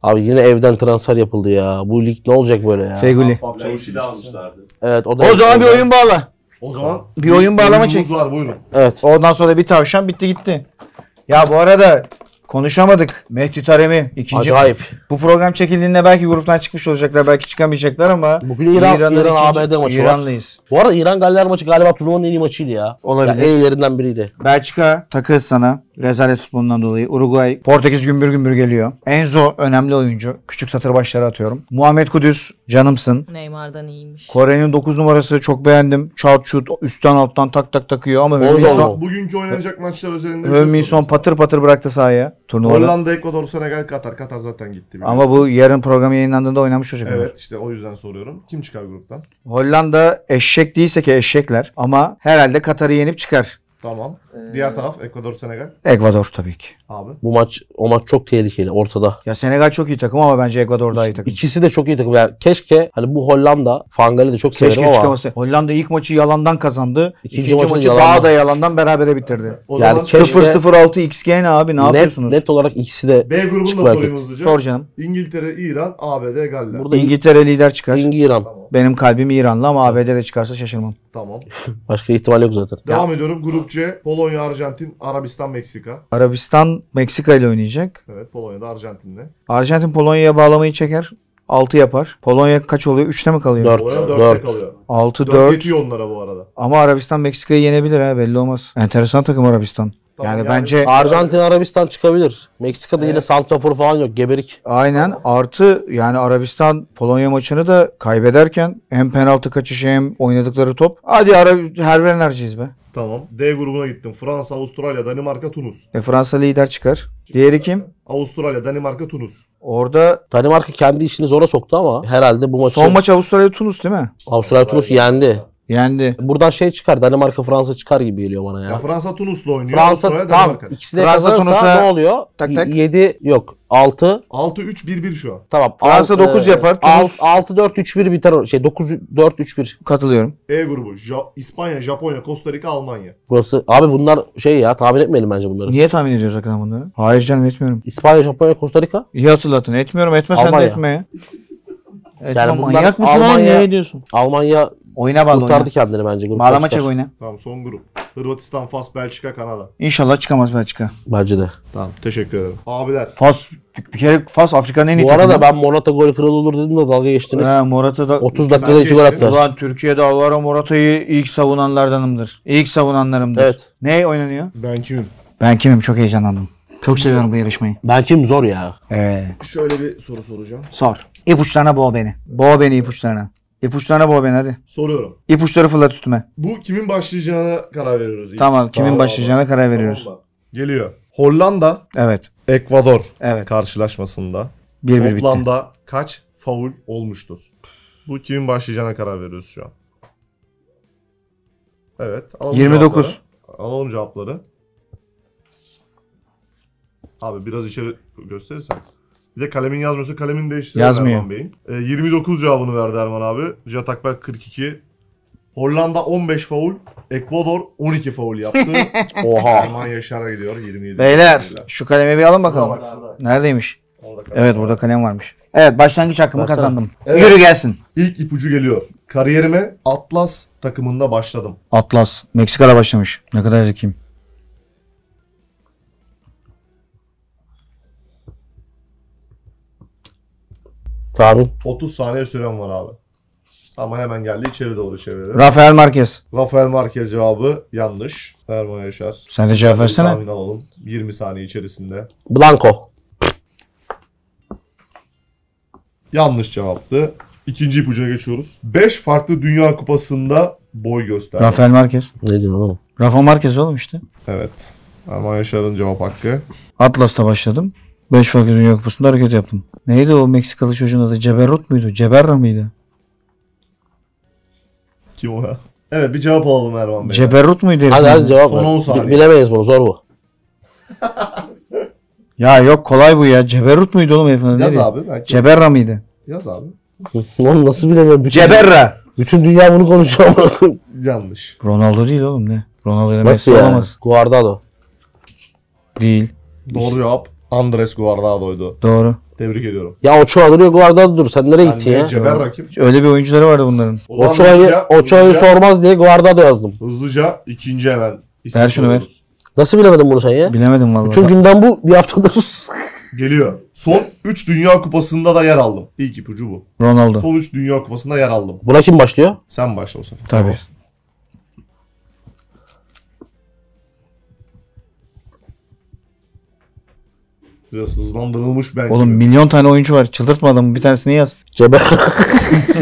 Speaker 2: Abi yine evden transfer yapıldı ya. Bu lig ne olacak böyle ya?
Speaker 1: Fegüli.
Speaker 4: Lauşi de almışlardı.
Speaker 2: Evet o da
Speaker 1: O zaman bir oyun bağla.
Speaker 3: O zaman
Speaker 1: Bir oyun bağlama
Speaker 3: oyunumuz
Speaker 1: çek.
Speaker 3: var buyurun.
Speaker 2: Evet.
Speaker 1: Ondan sonra bir tavşan bitti gitti. Ya bu arada konuşamadık. Mehdi Taremi ikinci.
Speaker 2: Acayip.
Speaker 1: Bu program çekildiğinde belki gruptan çıkmış olacaklar, belki çıkamayacaklar ama
Speaker 2: Bugün İran-
Speaker 1: İran'ın
Speaker 2: İran
Speaker 1: ikinci-
Speaker 2: ABD maçı var.
Speaker 1: İranlıyız.
Speaker 2: Bu arada İran Galler maçı galiba turnuvanın en iyi maçıydı ya.
Speaker 1: Olabilir.
Speaker 2: Ya en iyilerinden biriydi.
Speaker 1: Belçika takız sana rezalet futbolundan dolayı. Uruguay, Portekiz gümbür gümbür geliyor. Enzo önemli oyuncu. Küçük satır başları atıyorum. Muhammed Kudüs canımsın.
Speaker 5: Neymar'dan iyiymiş.
Speaker 1: Kore'nin 9 numarası çok beğendim. Çat şut üstten alttan tak tak takıyor ama
Speaker 2: Orada
Speaker 1: Hönminson,
Speaker 2: oldu.
Speaker 3: Bugünkü oynanacak maçlar özelinde. bir şey
Speaker 1: Hönminson
Speaker 3: sorayım.
Speaker 1: patır patır bıraktı sahaya turnuvada.
Speaker 3: Hollanda, Ekvador, Senegal, Katar. Katar zaten gitti. biliyorsun.
Speaker 1: Ama bu yarın program yayınlandığında oynamış olacak.
Speaker 3: Evet işte o yüzden soruyorum. Kim çıkar gruptan?
Speaker 1: Hollanda eşek değilse ki eşekler ama herhalde Katar'ı yenip çıkar.
Speaker 3: Tamam. Diğer taraf Ekvador, Senegal.
Speaker 1: Ekvador tabii ki.
Speaker 3: Abi.
Speaker 2: Bu maç o maç çok tehlikeli ortada.
Speaker 1: Ya Senegal çok iyi takım ama bence Ekvador daha iyi takım.
Speaker 2: İkisi de çok iyi takım. Yani keşke hani bu Hollanda, Fangal'i de çok severim
Speaker 1: Keşke
Speaker 2: ama
Speaker 1: çıkaması. Hollanda ilk maçı yalandan kazandı.
Speaker 2: İkinci
Speaker 1: İkinci,
Speaker 2: maçı
Speaker 1: maçı,
Speaker 2: yalandan.
Speaker 1: daha da yalandan berabere bitirdi.
Speaker 3: O
Speaker 2: Yani
Speaker 3: zaman
Speaker 2: keşke-
Speaker 1: 0-0-6 XG ne abi ne
Speaker 2: net,
Speaker 1: yapıyorsunuz?
Speaker 2: net olarak ikisi de
Speaker 3: B grubunu da
Speaker 2: Çıkmak
Speaker 3: sorayım
Speaker 2: yok.
Speaker 3: hızlıca.
Speaker 1: Sor canım.
Speaker 3: İngiltere, İran, ABD, Galler.
Speaker 2: burada İngiliz,
Speaker 1: İngiltere lider çıkar.
Speaker 2: İran.
Speaker 1: Benim kalbim İranlı ama ABD'de çıkarsa şaşırmam.
Speaker 3: Tamam.
Speaker 2: Başka ihtimal yok zaten.
Speaker 3: Devam ediyorum. Grup C. Polonya, Arjantin, Arabistan, Meksika.
Speaker 1: Arabistan Meksika ile oynayacak.
Speaker 3: Evet Polonya'da Arjantin'le.
Speaker 1: Arjantin Polonya'ya bağlamayı çeker. 6 yapar. Polonya kaç oluyor? 3'te mi kalıyor?
Speaker 2: Dört.
Speaker 3: Polonya 4'te
Speaker 2: dört.
Speaker 3: kalıyor.
Speaker 1: 6
Speaker 3: 4
Speaker 1: 4.
Speaker 3: yetiyor onlara bu arada.
Speaker 1: Ama Arabistan Meksika'yı yenebilir ha belli olmaz. Enteresan takım Arabistan.
Speaker 3: Tamam,
Speaker 1: yani,
Speaker 3: yani-
Speaker 1: bence
Speaker 2: Arjantin, Arabistan çıkabilir. Meksika'da yine santrafor falan yok. Geberik.
Speaker 1: aynen artı yani Arabistan Polonya maçını da kaybederken hem penaltı kaçışı hem oynadıkları top. Hadi Ara Herven Erciyiz be.
Speaker 3: Tamam. D grubuna gittim. Fransa, Avustralya, Danimarka, Tunus.
Speaker 1: E, Fransa lider çıkar. Diğeri kim?
Speaker 3: Avustralya, Danimarka, Tunus.
Speaker 1: Orada
Speaker 2: Danimarka kendi işini zora soktu ama herhalde bu maçı
Speaker 1: son maç Avustralya Tunus değil mi?
Speaker 2: Avustralya Tunus yendi.
Speaker 1: Yendi.
Speaker 2: Buradan şey çıkar Danimarka Fransa çıkar gibi geliyor bana ya.
Speaker 3: Ya Fransa Tunus'la oynuyor.
Speaker 2: Fransa
Speaker 3: Fransa
Speaker 2: tam
Speaker 3: tamam.
Speaker 2: ikisi de
Speaker 1: Fransa,
Speaker 2: kazanırsa
Speaker 1: Tunus'a-
Speaker 2: ne oluyor?
Speaker 1: Tak, tak.
Speaker 2: 7 yok 6
Speaker 3: 6-3-1-1 şu an.
Speaker 2: tamam.
Speaker 1: Fransa dokuz yapar, Tunus-
Speaker 2: 6 4 3 1 biter o- şey 9 4 3 1.
Speaker 1: Katılıyorum.
Speaker 3: E grubu. Ja- İspanya, Japonya, Costa Rica, Almanya.
Speaker 2: Burası abi bunlar şey ya tahmin etmeyelim bence bunları.
Speaker 1: Niye tahmin ediyoruz hakikaten bunları? Hayır canım etmiyorum.
Speaker 2: İspanya, Japonya, Costa Rica.
Speaker 1: İyi hatırlatın. Etmiyorum. Etme sen de
Speaker 2: Almanya.
Speaker 1: etme ya. Etme,
Speaker 2: Yani bunlar
Speaker 1: manyak mısın lan?
Speaker 2: Almanya-
Speaker 1: Ne diyorsun?
Speaker 2: Almanya
Speaker 1: Oyna bal oyna.
Speaker 2: kurtardı kendini bence gruptan
Speaker 1: Bağlama
Speaker 2: çıkar.
Speaker 1: çak oyna.
Speaker 3: Tamam son grup. Hırvatistan, Fas, Belçika, Kanada.
Speaker 1: İnşallah çıkamaz Belçika.
Speaker 2: Bence de.
Speaker 3: Tamam teşekkür ederim. Abiler.
Speaker 1: Fas bir kere Fas Afrika'nın en iyi
Speaker 2: Bu arada
Speaker 1: takımı.
Speaker 2: ben Morata gol kralı olur dedim de dalga geçtiniz.
Speaker 1: He, Morata da
Speaker 2: 30 dakikada 2 gol attı.
Speaker 1: Ulan Türkiye'de Alvaro Morata'yı ilk savunanlardanımdır. İlk savunanlarımdır.
Speaker 2: Evet.
Speaker 1: Ne oynanıyor?
Speaker 3: Ben kimim?
Speaker 1: Ben kimim? Çok heyecanlandım. Çok seviyorum bu yarışmayı.
Speaker 2: Ben kim zor ya.
Speaker 1: Ee,
Speaker 3: Şöyle bir soru soracağım.
Speaker 1: sor. İpuçlarına boğ beni. Boğ beni ipuçlarına. İpuçlarına boğ beni hadi.
Speaker 3: Soruyorum.
Speaker 1: İpuçları fırlat üstüme.
Speaker 3: Bu kimin başlayacağına karar veriyoruz. İlk.
Speaker 1: Tamam. Kimin
Speaker 3: Tamam.
Speaker 1: başlayacağına karar veriyoruz.
Speaker 3: Tamam mı? Geliyor. Hollanda,
Speaker 1: Evet.
Speaker 3: Ekvador
Speaker 1: Evet.
Speaker 3: karşılaşmasında
Speaker 1: Bir bir bitti.
Speaker 3: toplamda kaç faul olmuştur? Bu kimin başlayacağına karar veriyoruz şu an. Evet. Alalım
Speaker 1: 29.
Speaker 3: Cevapları. Alalım cevapları. Abi biraz içeri gösterirsen. Bir de kalemin yazmıyorsa kalemini değiştirelim
Speaker 1: Yazmıyor.
Speaker 3: Erman Bey'in. Ee, 29 cevabını verdi Erman abi. Cihat Akberk 42. Hollanda 15 faul. Ekvador 12 faul yaptı.
Speaker 2: Oha.
Speaker 3: Erman Yaşar'a gidiyor 27.
Speaker 1: Beyler şu kalemi bir alın bakalım.
Speaker 3: Orada
Speaker 1: Neredeymiş?
Speaker 3: kalem
Speaker 1: Evet burada kalem varmış. Evet başlangıç hakkımı
Speaker 2: Baksana.
Speaker 1: kazandım.
Speaker 3: Evet.
Speaker 1: Yürü gelsin.
Speaker 3: İlk ipucu geliyor. Kariyerime Atlas takımında başladım.
Speaker 1: Atlas. Meksika'da başlamış. Ne kadar zekiyim.
Speaker 2: Tahmin.
Speaker 3: 30 saniye süren var abi. Ama hemen geldi içeri doğru çevirelim.
Speaker 1: Rafael Marquez.
Speaker 3: Rafael Marquez cevabı yanlış. Erman Yaşar.
Speaker 1: Sen de cevap versene.
Speaker 3: Tahmin alalım. 20 saniye içerisinde.
Speaker 2: Blanco.
Speaker 3: Yanlış cevaptı. İkinci ipucuna geçiyoruz. 5 farklı Dünya Kupası'nda boy gösterdi.
Speaker 1: Rafael Marquez.
Speaker 2: Ne diyorsun oğlum?
Speaker 1: Rafa Marquez oğlum işte.
Speaker 3: Evet. Erman Yaşar'ın cevap hakkı.
Speaker 1: Atlas'ta başladım. 5 farklı Dünya Kupası'nda hareket yaptım. Neydi o Meksikalı çocuğun adı? Ceberrut muydu? Ceberra mıydı?
Speaker 3: Kim o ya? Evet bir cevap alalım Erman Bey.
Speaker 1: Ceberrut muydu herifin
Speaker 2: Hadi hadi
Speaker 1: adı?
Speaker 2: cevap
Speaker 3: Son on
Speaker 2: ver.
Speaker 3: saniye.
Speaker 2: Bi- Bilemeyiz bunu zor bu.
Speaker 1: Ya yok kolay bu ya. Ceberrut muydu oğlum herifin adı?
Speaker 3: Yaz
Speaker 1: Neydi?
Speaker 3: abi. Belki.
Speaker 1: Ceberra mıydı?
Speaker 3: Yaz abi.
Speaker 2: Oğlum nasıl bilemem? Bütün,
Speaker 1: Ceberra!
Speaker 2: bütün dünya bunu konuşuyor. amına koyayım.
Speaker 3: Yanlış.
Speaker 1: Ronaldo değil oğlum ne? Ronaldo ile Messi
Speaker 2: Nasıl ya?
Speaker 1: olamaz.
Speaker 2: Guardado.
Speaker 1: Değil.
Speaker 3: Doğru cevap Andres Guardado'ydu.
Speaker 1: Doğru.
Speaker 3: Tebrik ediyorum.
Speaker 2: Ya Ochoa duruyor Guardado dur. Sen nereye
Speaker 3: Ben
Speaker 2: gittin ya?
Speaker 3: de Ceber rakip.
Speaker 1: Öyle bir oyuncuları vardı bunların.
Speaker 3: O zaman
Speaker 2: Ochoa'yı,
Speaker 3: hızlıca-
Speaker 2: Ochoa'yı
Speaker 3: hızlıca-
Speaker 2: sormaz diye Guardado yazdım.
Speaker 3: Hızlıca ikinci hemen. isim
Speaker 1: Ver şunu ver.
Speaker 3: soruyoruz.
Speaker 2: Nasıl bilemedin bunu sen ya?
Speaker 1: Bilemedim vallahi.
Speaker 2: Bütün günden bu bir haftadır.
Speaker 3: Geliyor. Son 3 Dünya Kupası'nda da yer aldım. İlk ipucu bu.
Speaker 1: Ronaldo.
Speaker 3: Son 3 Dünya Kupası'nda yer aldım.
Speaker 2: Buna kim başlıyor?
Speaker 3: Sen başla o sefer.
Speaker 1: Tabii.
Speaker 3: Biraz hızlandırılmış bence.
Speaker 1: Oğlum milyon tane oyuncu var. Çıldırtma adamı. Bir tanesini yaz.
Speaker 2: Ceber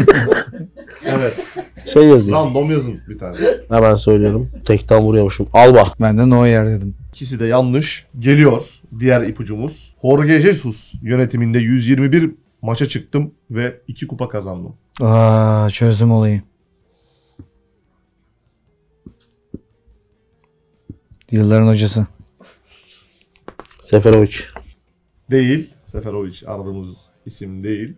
Speaker 3: Evet.
Speaker 2: şey yazayım.
Speaker 3: Random yazın bir tane.
Speaker 2: Hemen söylüyorum. Tekten vuruyormuşum. Alba.
Speaker 1: Ben de Neuer dedim.
Speaker 3: İkisi de yanlış. Geliyor diğer ipucumuz. Jorge Jesus yönetiminde 121 maça çıktım ve 2 kupa kazandım.
Speaker 1: Aa çözdüm olayı. Yılların hocası.
Speaker 2: Seferovic.
Speaker 3: Değil. Seferovic aradığımız isim değil.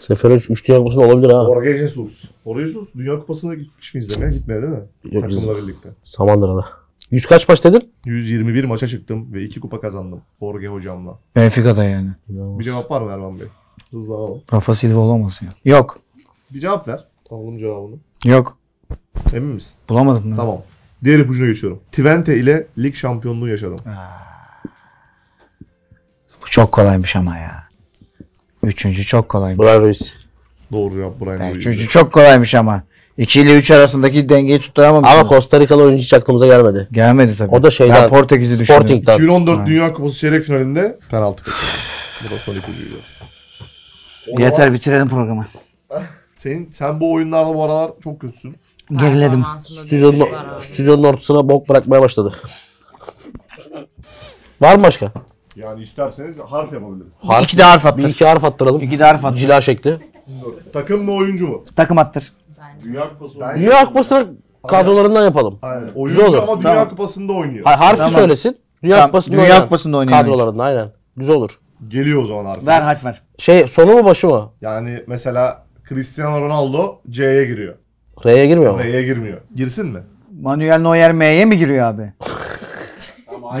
Speaker 2: Seferovic 3 dünya kupası olabilir ha.
Speaker 3: Jorge Jesus. Jorge Jesus Dünya Kupası'na gitmiş mi izlemeye? Gitmedi değil mi?
Speaker 2: Yok,
Speaker 3: Takımla birlikte.
Speaker 2: Samandıra'da. Yüz kaç baş dedin?
Speaker 3: 121 maça çıktım ve 2 kupa kazandım Jorge hocamla.
Speaker 1: Benfica'da yani.
Speaker 3: Bir cevap var mı Erman Bey? Hızlanalım.
Speaker 1: Rafa Silva olamaz ya. Yok.
Speaker 3: Bir cevap ver. Alalım cevabını.
Speaker 1: Yok.
Speaker 3: Emin misin?
Speaker 1: Bulamadım. Tamam.
Speaker 3: Tamam. Diğer ipucuna geçiyorum. Twente ile lig şampiyonluğu yaşadım.
Speaker 1: Bu çok kolaymış ama ya. Üçüncü çok kolaymış.
Speaker 2: Brian Ruiz.
Speaker 3: Doğru cevap Brian
Speaker 1: Yani
Speaker 3: Ruiz'di.
Speaker 1: üçüncü çok kolaymış ama. 2 ile 3 arasındaki dengeyi tutturamamış.
Speaker 2: Ama Costa Rikalı oyuncu hiç aklımıza gelmedi.
Speaker 1: Gelmedi tabii.
Speaker 2: O da şeyden.
Speaker 1: Ben Portekiz'i düşündüm.
Speaker 2: Sporting'den.
Speaker 3: 2014
Speaker 1: Ha.
Speaker 3: Dünya Kupası çeyrek finalinde penaltı kaçırdım. Bu da son ipucuydu.
Speaker 1: Yeter bitirelim programı.
Speaker 3: Senin, sen bu oyunlarda bu aralar çok kötüsün.
Speaker 1: Geriledim.
Speaker 5: Performansında düşüş var
Speaker 2: Stüdyonun,
Speaker 5: abi.
Speaker 2: stüdyonun ortasına bok bırakmaya başladı. Var mı başka?
Speaker 3: Yani isterseniz harf yapabiliriz.
Speaker 2: Harf-
Speaker 1: İki de harf
Speaker 2: Bir
Speaker 1: attır.
Speaker 2: iki harf attıralım.
Speaker 1: İki de harf attır.
Speaker 2: Cila şekli.
Speaker 3: Takım mı oyuncu mu?
Speaker 1: Takım attır.
Speaker 5: Bence
Speaker 4: Dünya Kupası
Speaker 3: Ben-
Speaker 2: Dünya Kupası'nı kadrolarından yapalım.
Speaker 3: Aynen.
Speaker 2: Güzel
Speaker 3: Oyuncu
Speaker 2: olur.
Speaker 3: ama Dünya
Speaker 2: Tamam.
Speaker 3: Kupası'nda oynuyor.
Speaker 2: Hayır, harfi
Speaker 1: Tamam.
Speaker 2: söylesin. Dünya
Speaker 1: Tamam,
Speaker 2: Kupası'nda
Speaker 1: Dünya
Speaker 2: oynayan
Speaker 1: Kupası'nda oynayan.
Speaker 2: kadrolarından aynen. Güzel olur.
Speaker 3: Geliyor o zaman harfimiz.
Speaker 6: Ver harf ver.
Speaker 2: Şey sonu mu başı mı?
Speaker 3: Yani mesela Cristiano Ronaldo C'ye giriyor.
Speaker 2: R'ye girmiyor mu?
Speaker 3: R'ye girmiyor. Girsin mi?
Speaker 1: Manuel Neuer M'ye mi giriyor abi?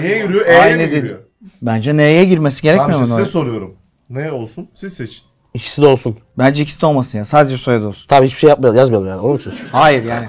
Speaker 3: N'ye giriyor, E'ye
Speaker 1: Aynı
Speaker 3: mi
Speaker 1: dedi.
Speaker 3: giriyor?
Speaker 1: Bence N'ye girmesi
Speaker 3: Tamam
Speaker 1: gerekmiyor
Speaker 3: şimdi
Speaker 1: mu?
Speaker 3: size
Speaker 1: Neuer?
Speaker 3: soruyorum. Ne olsun? Siz seçin.
Speaker 2: İkisi de olsun.
Speaker 1: Bence ikisi de olmasın ya. Sadece soyadı olsun.
Speaker 2: Tamam hiçbir şey yapmayalım yazmayalım yani. Onu mu söylüyorsun?
Speaker 1: Hayır yani.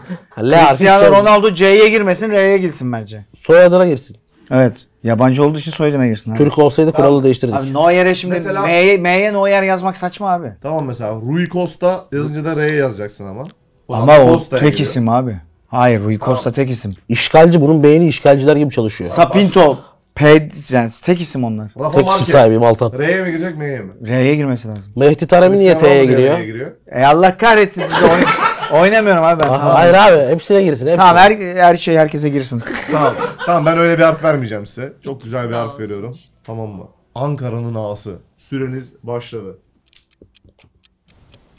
Speaker 2: L harfi hiç
Speaker 1: Cristiano
Speaker 2: söyle-
Speaker 1: Ronaldo C'ye girmesin R'ye girsin bence.
Speaker 2: soyadına girsin.
Speaker 1: Evet. Yabancı olduğu için soyadına girsin. Abi.
Speaker 2: Türk olsaydı kuralı değiştirdik.
Speaker 1: Abi Neuer'e şimdi
Speaker 3: Mesela-
Speaker 1: M'ye, M'ye Neuer yazmak saçma abi.
Speaker 3: Tamam mesela Rui Costa yazınca da R'ye yazacaksın ama.
Speaker 1: Ama
Speaker 3: zaman
Speaker 1: o
Speaker 3: Costa'ya
Speaker 1: tek
Speaker 3: giriyor.
Speaker 1: isim abi. Hayır Rui Costa tek isim.
Speaker 2: İşgalci bunun beyni işgalciler gibi çalışıyor.
Speaker 1: Sapinto, Ped, yani tek isim onlar.
Speaker 3: Rafa
Speaker 2: Tek isim
Speaker 3: Marquez.
Speaker 2: sahibiyim Altan.
Speaker 3: R'ye mi girecek M'ye mi?
Speaker 1: R'ye girmesi lazım.
Speaker 2: Mehdi Taremi niye
Speaker 3: Cristiano
Speaker 2: T'ye
Speaker 3: Ronaldo
Speaker 2: giriyor?
Speaker 3: R'ye giriyor.
Speaker 1: E Allah kahretsin sizi oyn- oynamıyorum abi ben.
Speaker 2: Aha,
Speaker 1: Tamam.
Speaker 2: Hayır abi hepsine girsin. Hepsine.
Speaker 1: Tamam her, her şey herkese girsin.
Speaker 3: tamam. Tamam ben öyle bir harf vermeyeceğim size. Çok güzel bir harf
Speaker 5: olsun
Speaker 3: veriyorum. Tamam mı? Ankara'nın ağası. Süreniz başladı.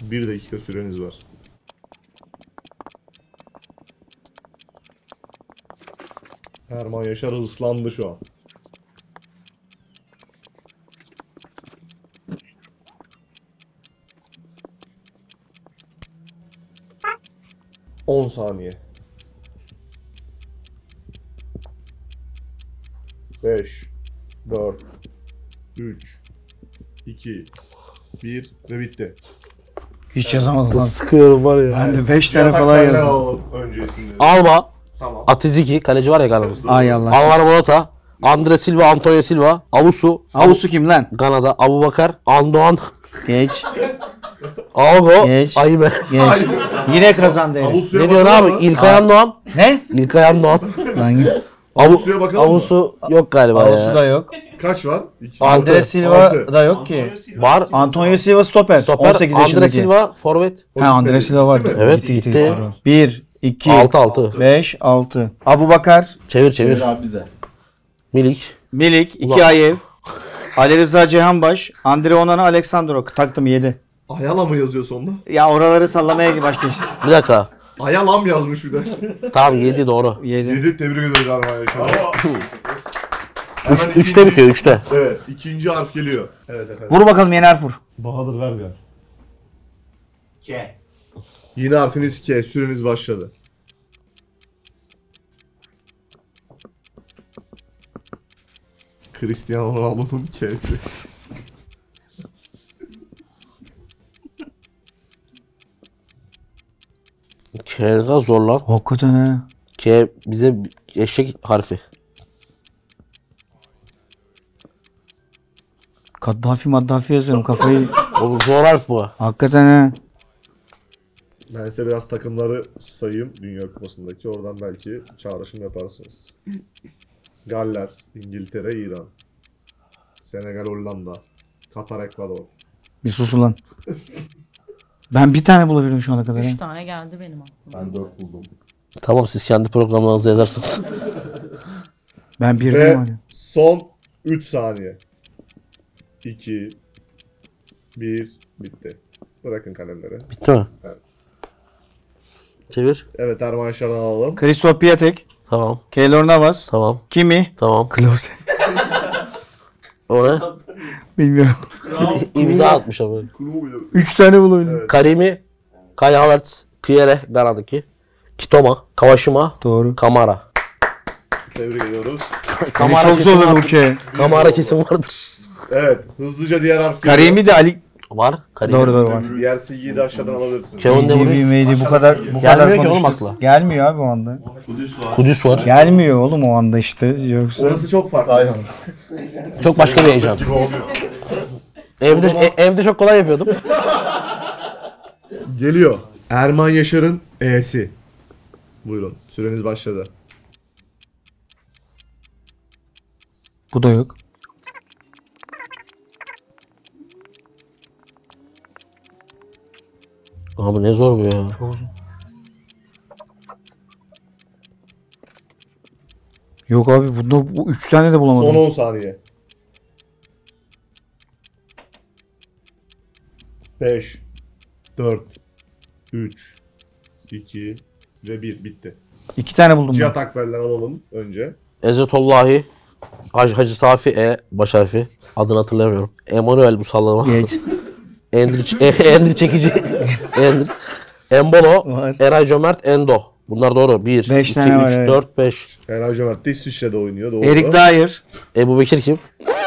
Speaker 3: Bir dakika süreniz var. Erman Yaşar ıslandı şu an. On saniye. 5 4 3 2 1 ve bitti.
Speaker 1: Hiç yazamadım lan.
Speaker 2: Sıkıyorum var ya.
Speaker 1: Ben de 5 tane falan
Speaker 3: Yataklarla
Speaker 1: yazdım.
Speaker 3: alalım önce isimleri.
Speaker 2: Alba,
Speaker 3: Tamam.
Speaker 2: Atiziki, kaleci var ya Gana'da.
Speaker 1: Ay Allah.
Speaker 2: Alvaro Morata, Andre Silva, Antonio Silva, Avusu,
Speaker 1: Avusu kim lan?
Speaker 2: Gana'da, Abu Bakar, Andoğan,
Speaker 1: Geç.
Speaker 2: Aogo,
Speaker 1: Geç.
Speaker 2: Ayime.
Speaker 1: Geç. Yine kazandı herif.
Speaker 3: Avustuya
Speaker 2: Ne diyorsun
Speaker 3: bakalım mı?
Speaker 2: abi? İlkay Andoğan.
Speaker 1: Ne?
Speaker 2: İlkay Andoğan.
Speaker 1: Lan git.
Speaker 3: Avusu'ya
Speaker 2: Avu,
Speaker 3: bakalım mı?
Speaker 2: Avusu yok galiba
Speaker 1: Avusu
Speaker 2: ya.
Speaker 1: da yok.
Speaker 3: Kaç var? İki.
Speaker 2: Altı.
Speaker 1: Andre Silva
Speaker 3: Altı.
Speaker 1: da yok ki.
Speaker 2: Var.
Speaker 1: Antonio Silva stoper.
Speaker 2: Stoper,
Speaker 1: 18
Speaker 2: Andre
Speaker 1: yaşındaki.
Speaker 2: Silva, forvet.
Speaker 1: Ha Andre Silva vardı.
Speaker 3: Değil
Speaker 2: mi? Evet, gitti.
Speaker 1: 1, 2,
Speaker 2: 6 6.
Speaker 1: 5, 6. Abu Bakar,
Speaker 2: Çevir çevir.
Speaker 4: abi bize.
Speaker 2: Milik.
Speaker 1: Milik,
Speaker 2: Ulan.
Speaker 1: Ikiayev, Ali Rıza Cihanbaş, Andre Onana, Aleksandro. Taktım 7.
Speaker 3: Ayala mı yazıyor sonunda?
Speaker 1: Ya oraları sallamaya gibi başka iş.
Speaker 2: Bir dakika.
Speaker 3: Ayala mı yazmış bir de?
Speaker 2: Tamam 7 doğru.
Speaker 1: 7.
Speaker 3: Yedi tebrik ediyoruz Erman Yaşar'a. Hemen
Speaker 2: 3
Speaker 3: ikinci-
Speaker 2: 3'te bitiyor 3'te.
Speaker 3: Evet ikinci harf geliyor. Evet efendim.
Speaker 1: Vur bakalım Yener Fur.
Speaker 3: Bahadır ver bir harf.
Speaker 4: K.
Speaker 3: Yine harfiniz K. Süreniz başladı. Cristiano Ronaldo'nun K'si.
Speaker 2: K'ga zor lan.
Speaker 1: Hakikaten ha.
Speaker 2: K bize eşek harfi.
Speaker 1: Kaddafi maddafi yazıyorum kafayı.
Speaker 2: O zor harf bu.
Speaker 1: Hakikaten ha.
Speaker 3: Ben size biraz takımları sayayım Dünya Kupası'ndaki. Oradan belki çağrışım yaparsınız. Galler, İngiltere, İran. Senegal, Hollanda. Katar, Ekvador.
Speaker 1: Bir sus ulan. Ben bir tane bulabildim şu ana kadar. ha.
Speaker 5: 3 tane geldi benim aklıma.
Speaker 4: Ben 4 buldum.
Speaker 2: Tamam siz kendi programlarınızda yazarsınız.
Speaker 1: Ben bir
Speaker 3: Ve
Speaker 1: değilim hala.
Speaker 3: son 3 saniye. 2 1 bitti. Bırakın kalemleri.
Speaker 2: Bitti mi?
Speaker 3: Evet.
Speaker 2: Çevir.
Speaker 3: Evet Erman Şaran alalım.
Speaker 1: Christoph Piatek,
Speaker 2: Tamam.
Speaker 1: Keylor Navas,
Speaker 2: Tamam.
Speaker 1: Kimi,
Speaker 2: Tamam.
Speaker 1: Klose.
Speaker 2: O ne?
Speaker 1: Bilmiyorum.
Speaker 2: İmza atmış abi.
Speaker 1: Üç tane bulabildim.
Speaker 2: Karimi, Kai Havertz, Kiyere, Gana'daki. Kitoma, Kawashima,
Speaker 1: Doğru.
Speaker 2: Kamara.
Speaker 3: Tebrik ediyoruz.
Speaker 1: Seni
Speaker 2: Kamara
Speaker 1: çok
Speaker 2: kesin
Speaker 1: zorladı bu
Speaker 2: vardır.
Speaker 1: ki.
Speaker 2: Kamara kesin vardır.
Speaker 3: Evet hızlıca diğer harf geliyor.
Speaker 1: Karimi de Ali.
Speaker 2: Var. Karimi.
Speaker 1: Doğru doğru var.
Speaker 3: Diğer silgiyi de aşağıdan alabilirsiniz.
Speaker 2: Kevin De Bruyne.
Speaker 1: Meydi, meydi, bu kadar bu kadar
Speaker 2: Gelmiyor ki oğlum
Speaker 1: konuştuk.
Speaker 2: akla.
Speaker 1: Gelmiyor abi o anda.
Speaker 4: Kudüs var.
Speaker 2: Kudüs var.
Speaker 1: Gelmiyor oğlum o anda işte. Yoksa
Speaker 3: Orası çok farklı. Aynen.
Speaker 2: Çok başka bir heyecan.
Speaker 3: Gibi oluyor.
Speaker 2: Evde e- evde çok kolay yapıyordum.
Speaker 3: Geliyor. Erman Yaşar'ın E'si. Buyurun. Süreniz başladı.
Speaker 1: bu da yok.
Speaker 2: Abi ne zor bu ya.
Speaker 1: Yok abi bunda bu üç tane de bulamadım.
Speaker 3: Son 10 saniye. 5 4 3 2 ve 1 bitti.
Speaker 1: İki tane buldum ben.
Speaker 3: Cihat Akber'den alalım önce.
Speaker 2: Ezetullahi, Hacı, Hacı Safi E, baş harfi. Adını hatırlamıyorum. Emanuel bu sallama.
Speaker 1: Geç.
Speaker 2: Endri, e, Endri çekici. Endri. Embolo,
Speaker 1: Var.
Speaker 2: Eray Cömert, Endo. Bunlar doğru. 1, 2,
Speaker 1: Beş
Speaker 2: 3,
Speaker 1: tane var, evet.
Speaker 2: 4, 5.
Speaker 3: Fener Cömert de İsviçre'de oynuyor. Doğru.
Speaker 1: Erik Dyer,
Speaker 2: Ebu Bekir kim?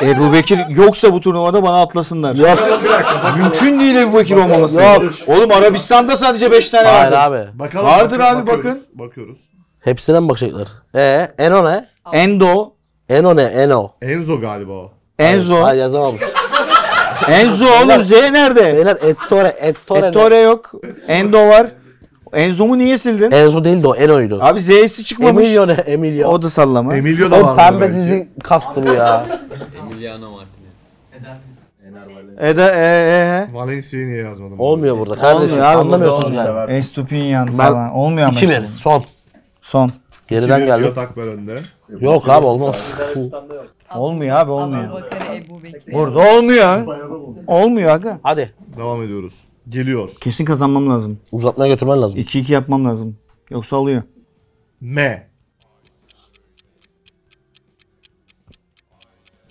Speaker 1: Ebu Bekir yoksa bu turnuvada bana atlasınlar.
Speaker 2: Yok.
Speaker 3: Bir dakika bakalım.
Speaker 1: Mümkün değil Ebu Bekir olmaması.
Speaker 2: Yok.
Speaker 1: Oğlum Arabistan'da sadece 5 tane
Speaker 2: Hayır
Speaker 1: vardı.
Speaker 2: abi.
Speaker 3: bakalım
Speaker 1: Vardır
Speaker 3: bakın-
Speaker 1: abi,
Speaker 3: bakıyoruz, Bakıyoruz.
Speaker 2: Hepsine mi bakacaklar? E, Eno ne?
Speaker 1: Endo,
Speaker 2: Eno ne? Eno.
Speaker 3: Enzo galiba o.
Speaker 1: Enzo.
Speaker 2: Hayır yazamamış.
Speaker 1: Enzo oğlum Z nerede?
Speaker 2: Beyler Ettore, Ettore,
Speaker 1: Ettore yok. Endo var. Enzo'mu niye sildin?
Speaker 2: ne? Enzo değildi o, Eno'ydu.
Speaker 1: Abi Z'si çıkmamış.
Speaker 2: Emilio ne? Emilio.
Speaker 1: O da sallama.
Speaker 3: Emilio da
Speaker 2: O
Speaker 3: var.
Speaker 2: pembe dizi kastı bu ya.
Speaker 6: Emiliano Martinez.
Speaker 1: Eda e e
Speaker 3: Valencia'yı niye yazmadım?
Speaker 2: Olmuyor burada kardeşim.
Speaker 1: abi,
Speaker 2: Anlamıyorsunuz yani.
Speaker 1: e. Estupinyan
Speaker 2: Ben-
Speaker 1: falan. Olmuyor ama.
Speaker 2: İki
Speaker 1: işte.
Speaker 2: mi? Son.
Speaker 1: Son.
Speaker 2: Geriden geldi.
Speaker 3: Cihat Akber önde.
Speaker 2: Yok abi olmaz.
Speaker 1: Olmuyor abi olmuyor.
Speaker 5: Abubakar'ı Ebu Bekir'i.
Speaker 1: Burada olmuyor. Olmuyor aga.
Speaker 2: Hadi.
Speaker 3: Devam ediyoruz. Geliyor.
Speaker 1: Kesin kazanmam lazım.
Speaker 2: Uzatmaya götürmen lazım.
Speaker 1: 2-2 yapmam lazım. Yoksa alıyor.
Speaker 3: M.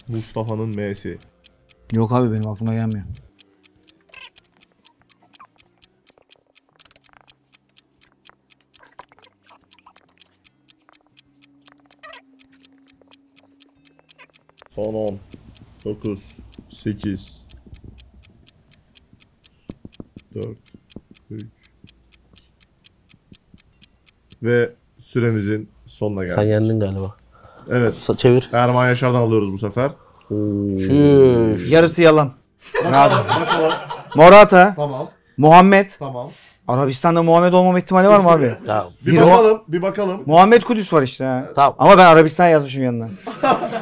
Speaker 3: Mustafa'nın M'si.
Speaker 1: Yok abi benim aklıma gelmiyor.
Speaker 3: Son 10. 9. 8. 4. 3. Ve süremizin sonuna
Speaker 2: Sen
Speaker 3: geldik.
Speaker 2: yendin galiba.
Speaker 3: Evet.
Speaker 2: Sa- çevir.
Speaker 3: Erman Yaşar'dan alıyoruz bu sefer.
Speaker 1: Ee,
Speaker 2: Çüş.
Speaker 1: Yarısı yalan.
Speaker 3: Bakalım, bakalım.
Speaker 1: Morata,
Speaker 3: Tamam.
Speaker 1: Muhammed.
Speaker 3: Tamam.
Speaker 1: Arabistan'da Muhammed olmama ihtimali var mı abi?
Speaker 2: Ya
Speaker 3: Bir,
Speaker 1: Bir o-
Speaker 3: bakalım. Bir bakalım.
Speaker 1: Muhammed Kudüs var işte ha.
Speaker 2: Tamam.
Speaker 1: Ama ben Arabistan yazmışım yanına.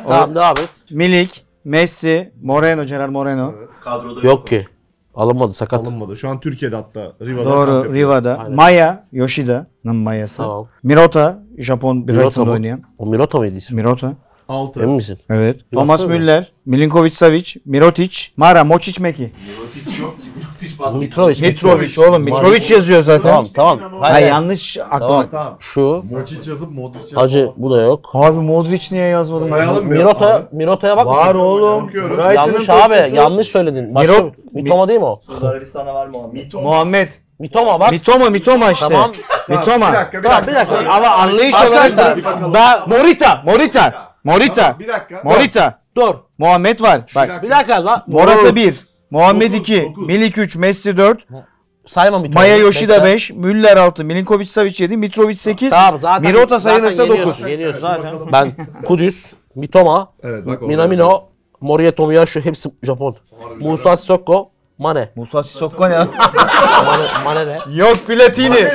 Speaker 2: tamam devam et.
Speaker 1: Milik, Messi, Moreno, Gerard Moreno.
Speaker 4: Kadroda
Speaker 2: Yok ki. Alınmadı sakat.
Speaker 3: Alınmadı. Şu an Türkiye'de hatta. Riva'da. kamp
Speaker 1: Doğru,
Speaker 3: yapıyor.
Speaker 1: Riva'da.
Speaker 2: Aynen.
Speaker 1: Maya, Yoshida'nın Mayası.
Speaker 2: Tamam.
Speaker 1: Mirota, Japon
Speaker 2: Mirota
Speaker 1: Brighton'da
Speaker 2: mı?
Speaker 1: oynayan.
Speaker 2: O Mirota mıydı ismi?
Speaker 1: Mirota.
Speaker 3: Altı.
Speaker 2: Emin misin?
Speaker 1: Evet. Thomas
Speaker 2: tabii.
Speaker 1: Müller, Milinkovic Savic, Mirotic, Mara, Mocic Meki.
Speaker 4: Mirotic yok ki. Mirotic basket.
Speaker 2: Mitrovic.
Speaker 1: Mitrovic oğlum. Mitrovic yazıyor zaten.
Speaker 2: Tamam tamam.
Speaker 1: Hayır,
Speaker 2: Hayır.
Speaker 1: yanlış aklıma.
Speaker 2: Tamam.
Speaker 3: Tamam.
Speaker 2: Şu.
Speaker 3: Modric yazıp Modric yazıp.
Speaker 2: Hacı bu da yok.
Speaker 1: Abi Modric niye yazmadım?
Speaker 3: Sayalım mı?
Speaker 2: Mirota,
Speaker 3: Abi.
Speaker 2: Mirota'ya bak.
Speaker 1: Var oğlum.
Speaker 3: Bakıyoruz.
Speaker 1: Brighton'ın
Speaker 2: yanlış abi.
Speaker 1: topçusu.
Speaker 2: Yanlış söyledin. Başka
Speaker 1: Mirot-
Speaker 2: Mitoma değil mi o?
Speaker 7: Suudi Arabistan'da var Muhammed.
Speaker 1: Muhammed.
Speaker 2: Mitoma bak.
Speaker 1: Mitoma, Mitoma işte.
Speaker 2: Tamam.
Speaker 1: Mitoma.
Speaker 3: Bir dakika. Bir
Speaker 2: Tamam bir
Speaker 3: dakika.
Speaker 2: dakika.
Speaker 1: Ama anlayış
Speaker 2: Arkadaşlar,
Speaker 1: olarak ben Morita, Morita, Morita,
Speaker 3: Bir dakika.
Speaker 1: Morita.
Speaker 2: Dur.
Speaker 1: Muhammed var. Bak.
Speaker 2: Bir dakika lan.
Speaker 1: Morata 1, Muhammed
Speaker 3: Dokuz,
Speaker 1: 2,
Speaker 3: dokuz.
Speaker 1: Milik 3, Messi 4,
Speaker 2: Sayma Mitoma'yı.
Speaker 1: Maya Yoshida
Speaker 2: Bekle.
Speaker 1: 5, Müller 6, Milinkovic Savic 7, Mitrovic 8.
Speaker 2: Tamam zaten.
Speaker 1: Mirota
Speaker 2: zaten
Speaker 1: sayılırsa
Speaker 2: yeniyorsun,
Speaker 1: 9.
Speaker 2: Yeniyorsun.
Speaker 1: Zaten.
Speaker 2: Ben Kudüs, Mitoma,
Speaker 3: Evet bak. orada.
Speaker 2: Minamino, Moriya Tomiyasu hepsi Japon. Musa Sokko, Mane.
Speaker 1: Musa Sissoko ne?
Speaker 2: Mane, Mane ne?
Speaker 1: Yok Platini.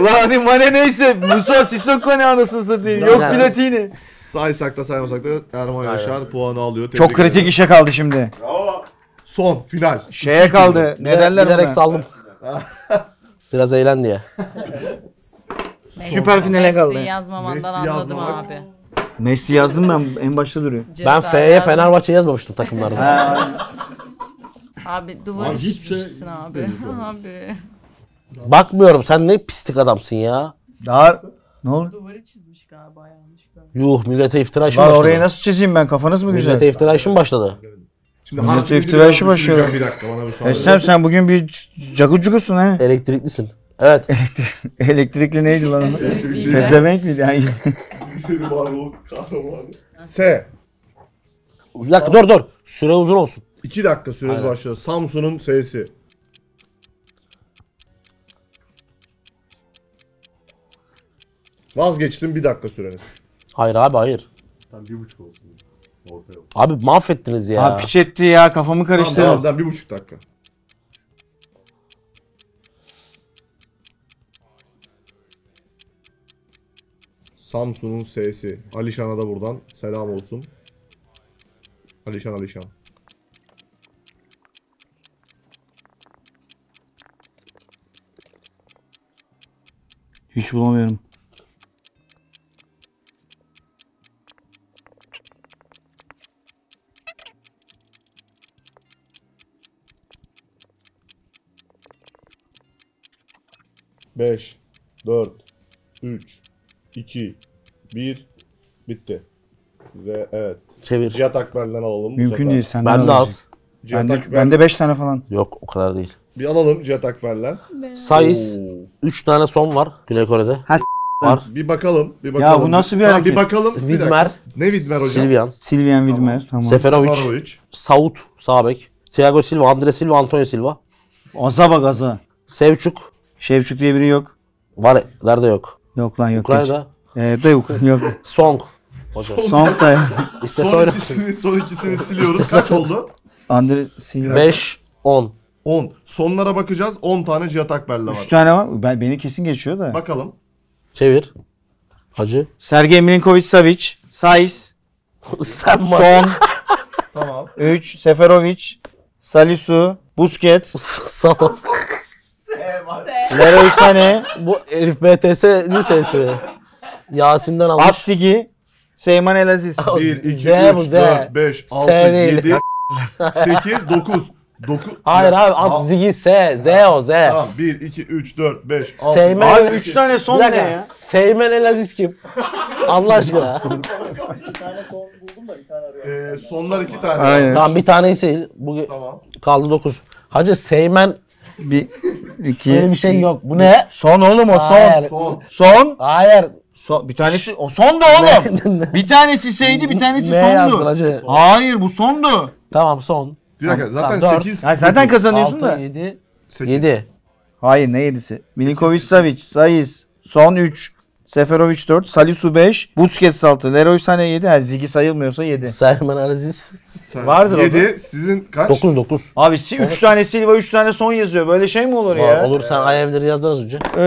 Speaker 1: Ulan hani Mane neyse Musa Sissoko ne anasını satayım. Yok
Speaker 2: Zaten-
Speaker 1: Platini.
Speaker 3: Saysak da saymasak da Erman Yaşar puanı alıyor.
Speaker 1: Çok
Speaker 3: Tebrik
Speaker 1: kritik
Speaker 3: ederim.
Speaker 1: işe kaldı şimdi.
Speaker 3: Son final.
Speaker 1: Şeye kaldı. Ne derler
Speaker 2: Bilerek
Speaker 1: ona?
Speaker 2: saldım. Biraz eğlen diye.
Speaker 1: Süper finale kaldı.
Speaker 5: Messi yazmamandan
Speaker 3: Messi
Speaker 5: anladım
Speaker 3: yazmamak.
Speaker 5: abi.
Speaker 1: Messi yazdım ben en başta duruyor.
Speaker 2: Ben
Speaker 5: Ceza
Speaker 2: F'ye
Speaker 5: yazdım.
Speaker 2: Fenerbahçe yazmamıştım takımlarda.
Speaker 5: Abi duvar
Speaker 3: Abi hiçbir şey
Speaker 5: çizmişsin abi. abi.
Speaker 2: Bakmıyorum sen ne pislik adamsın ya.
Speaker 1: Daha ne olur?
Speaker 5: Duvarı çizmiş galiba yanlış görmedim.
Speaker 2: Yuh millete iftira işi mi
Speaker 1: Lan
Speaker 2: başladı.
Speaker 1: orayı nasıl çizeyim ben? Kafanız mı güzel?
Speaker 2: Millete iftira işi mi başladı?
Speaker 3: Şimdi
Speaker 1: Millet
Speaker 3: harfimizi
Speaker 1: iftiraşı
Speaker 3: biraz düşüneceğim.
Speaker 1: başlıyor.
Speaker 3: Bir dakika bana bir saniye.
Speaker 1: Esnem sen bugün bir cagucugusun ha.
Speaker 2: Elektriklisin. Evet.
Speaker 1: Elektrikli neydi lan onun? Pezevenk miydi? Yani
Speaker 3: S.
Speaker 2: Bir dakika dur dur. Süre uzun olsun.
Speaker 3: 2 dakika süreniz başlıyor. Samsun'un S'si. Vazgeçtim bir dakika süreniz.
Speaker 2: Hayır abi hayır.
Speaker 4: Tam bir buçuk olsun. Orta yok.
Speaker 2: Abi mahvettiniz ya.
Speaker 1: ha, piç etti ya kafamı
Speaker 3: Tamam,
Speaker 1: karıştırdı.
Speaker 3: tamam, tamam, bir buçuk dakika. Samsun'un S'si. Alişan'a da buradan selam olsun. Alişan Alişan.
Speaker 1: Hiç bulamıyorum.
Speaker 3: 5, 4, 3, 2, 1. Bitti. Ve evet.
Speaker 2: Çevir.
Speaker 3: Cihat Akber'den alalım. bu
Speaker 1: Mümkün
Speaker 3: sefer.
Speaker 1: değil senden
Speaker 2: Ben de
Speaker 1: alacak.
Speaker 2: az.
Speaker 3: Cihat
Speaker 1: Bende
Speaker 3: Akber-
Speaker 1: bende 5 tane falan.
Speaker 2: Yok o kadar değil.
Speaker 3: Bir alalım Cihat Akber'den.
Speaker 2: Sayıs. 3 tane son var Güney Kore'de.
Speaker 1: Ha,
Speaker 2: var.
Speaker 3: Bir bakalım. Bir bakalım.
Speaker 1: bu nasıl bir
Speaker 3: Tamam,
Speaker 1: hareket?
Speaker 3: Bir bakalım. bir dakika.
Speaker 2: Widmer,
Speaker 3: Ne Widmer hocam?
Speaker 2: Silvian,
Speaker 1: Silvian Widmer tamam.
Speaker 2: Seferovic,
Speaker 3: Farovic.
Speaker 2: Saut, Sabek, Thiago Silva, Andre Silva, Antonio Silva,
Speaker 1: Aza bak aza.
Speaker 2: Sevçuk,
Speaker 1: Şevçuk diye biri yok.
Speaker 2: var nerede yok?
Speaker 1: Yok lan yok.
Speaker 2: Ukrayna'da.
Speaker 1: Ee, da yok. yok.
Speaker 2: Song. Hocam.
Speaker 1: Song da yok.
Speaker 2: İstese
Speaker 3: Son
Speaker 2: oynasın.
Speaker 3: ikisini, son ikisini siliyoruz. Kaç oldu?
Speaker 1: Andre Silva.
Speaker 2: 5 10.
Speaker 3: 10. Sonlara bakacağız. 10 tane Cihat Akber'le
Speaker 1: 3
Speaker 3: var.
Speaker 1: tane var. Ben, beni kesin geçiyor da.
Speaker 3: Bakalım.
Speaker 2: Çevir. Hacı.
Speaker 1: Sergey Milinkovic Savic. Saiz.
Speaker 2: Sen ma-
Speaker 1: Son.
Speaker 3: Tamam.
Speaker 1: 3. Seferovic. Salisu. Busquets.
Speaker 2: Sağ.
Speaker 1: Leroy Sané.
Speaker 2: Bu herif BTS lisesi mi? Yasin'den almış.
Speaker 1: Apsigi. Seyman Elaziz.
Speaker 2: O
Speaker 3: 1, 2, 3,
Speaker 2: Z bu Z.
Speaker 3: 4, 5, 6,
Speaker 2: S değil.
Speaker 3: 7, 8, 9. 9.
Speaker 2: Hayır abi at Zigi S. Z o Z.
Speaker 3: Tamam. 1, 2, 3, 4, 5, 6.
Speaker 2: Seymen-
Speaker 1: Abi 3 tane son
Speaker 2: Bir
Speaker 1: ne
Speaker 2: dakika.
Speaker 1: ya?
Speaker 2: Seymen El Aziz kim? Allah aşkına.
Speaker 3: Ee, sonlar 2 tane.
Speaker 1: Aynen.
Speaker 2: tamam bir tane ise bu
Speaker 3: Tamam.
Speaker 2: kaldı 9. Hacı Seymen
Speaker 1: 1, 2,
Speaker 2: öyle bir şey yok. Bu ne?
Speaker 1: Son oğlum o son.
Speaker 2: Hayır.
Speaker 3: Son.
Speaker 1: Son.
Speaker 2: Hayır.
Speaker 1: Son. Bir tanesi o sondu oğlum. bir tanesi seydi bir tanesi
Speaker 2: Ne yazdın
Speaker 1: sondu.
Speaker 2: hacı?
Speaker 1: Hayır bu sondu.
Speaker 2: Tamam son.
Speaker 3: Bir dakika. Zaten
Speaker 2: Tamam, dört.
Speaker 3: 8.
Speaker 1: Ya zaten kazanıyorsun
Speaker 2: 6,
Speaker 1: da.
Speaker 2: 7,
Speaker 3: 8.
Speaker 2: 7.
Speaker 1: Hayır ne yedisi? Milinkovic Savic, Saiz, son 3. Seferovic 4, Salisu 5, Busquets 6, Leroy Sané 7. Ha, Zigi sayılmıyorsa 7.
Speaker 2: Seymen El Aziz.
Speaker 1: Vardır
Speaker 3: 7. Sizin kaç?
Speaker 2: 9, 9.
Speaker 1: Abi 3 tane Silva 3 tane son yazıyor. Böyle şey mi olur ya?
Speaker 2: Olur sen IMDb'leri yazdın az önce.
Speaker 1: Ee, ee,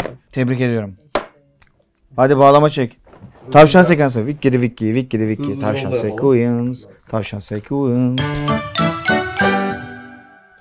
Speaker 1: ee. Tebrik ediyorum. Hadi bağlama çek. Tavşan sekansı. Vikkiri vikki, vikkiri vikki.
Speaker 3: Hızlı
Speaker 1: Tavşan
Speaker 3: yolda yapalım.
Speaker 1: sekuyans. Tavşan sekuyans.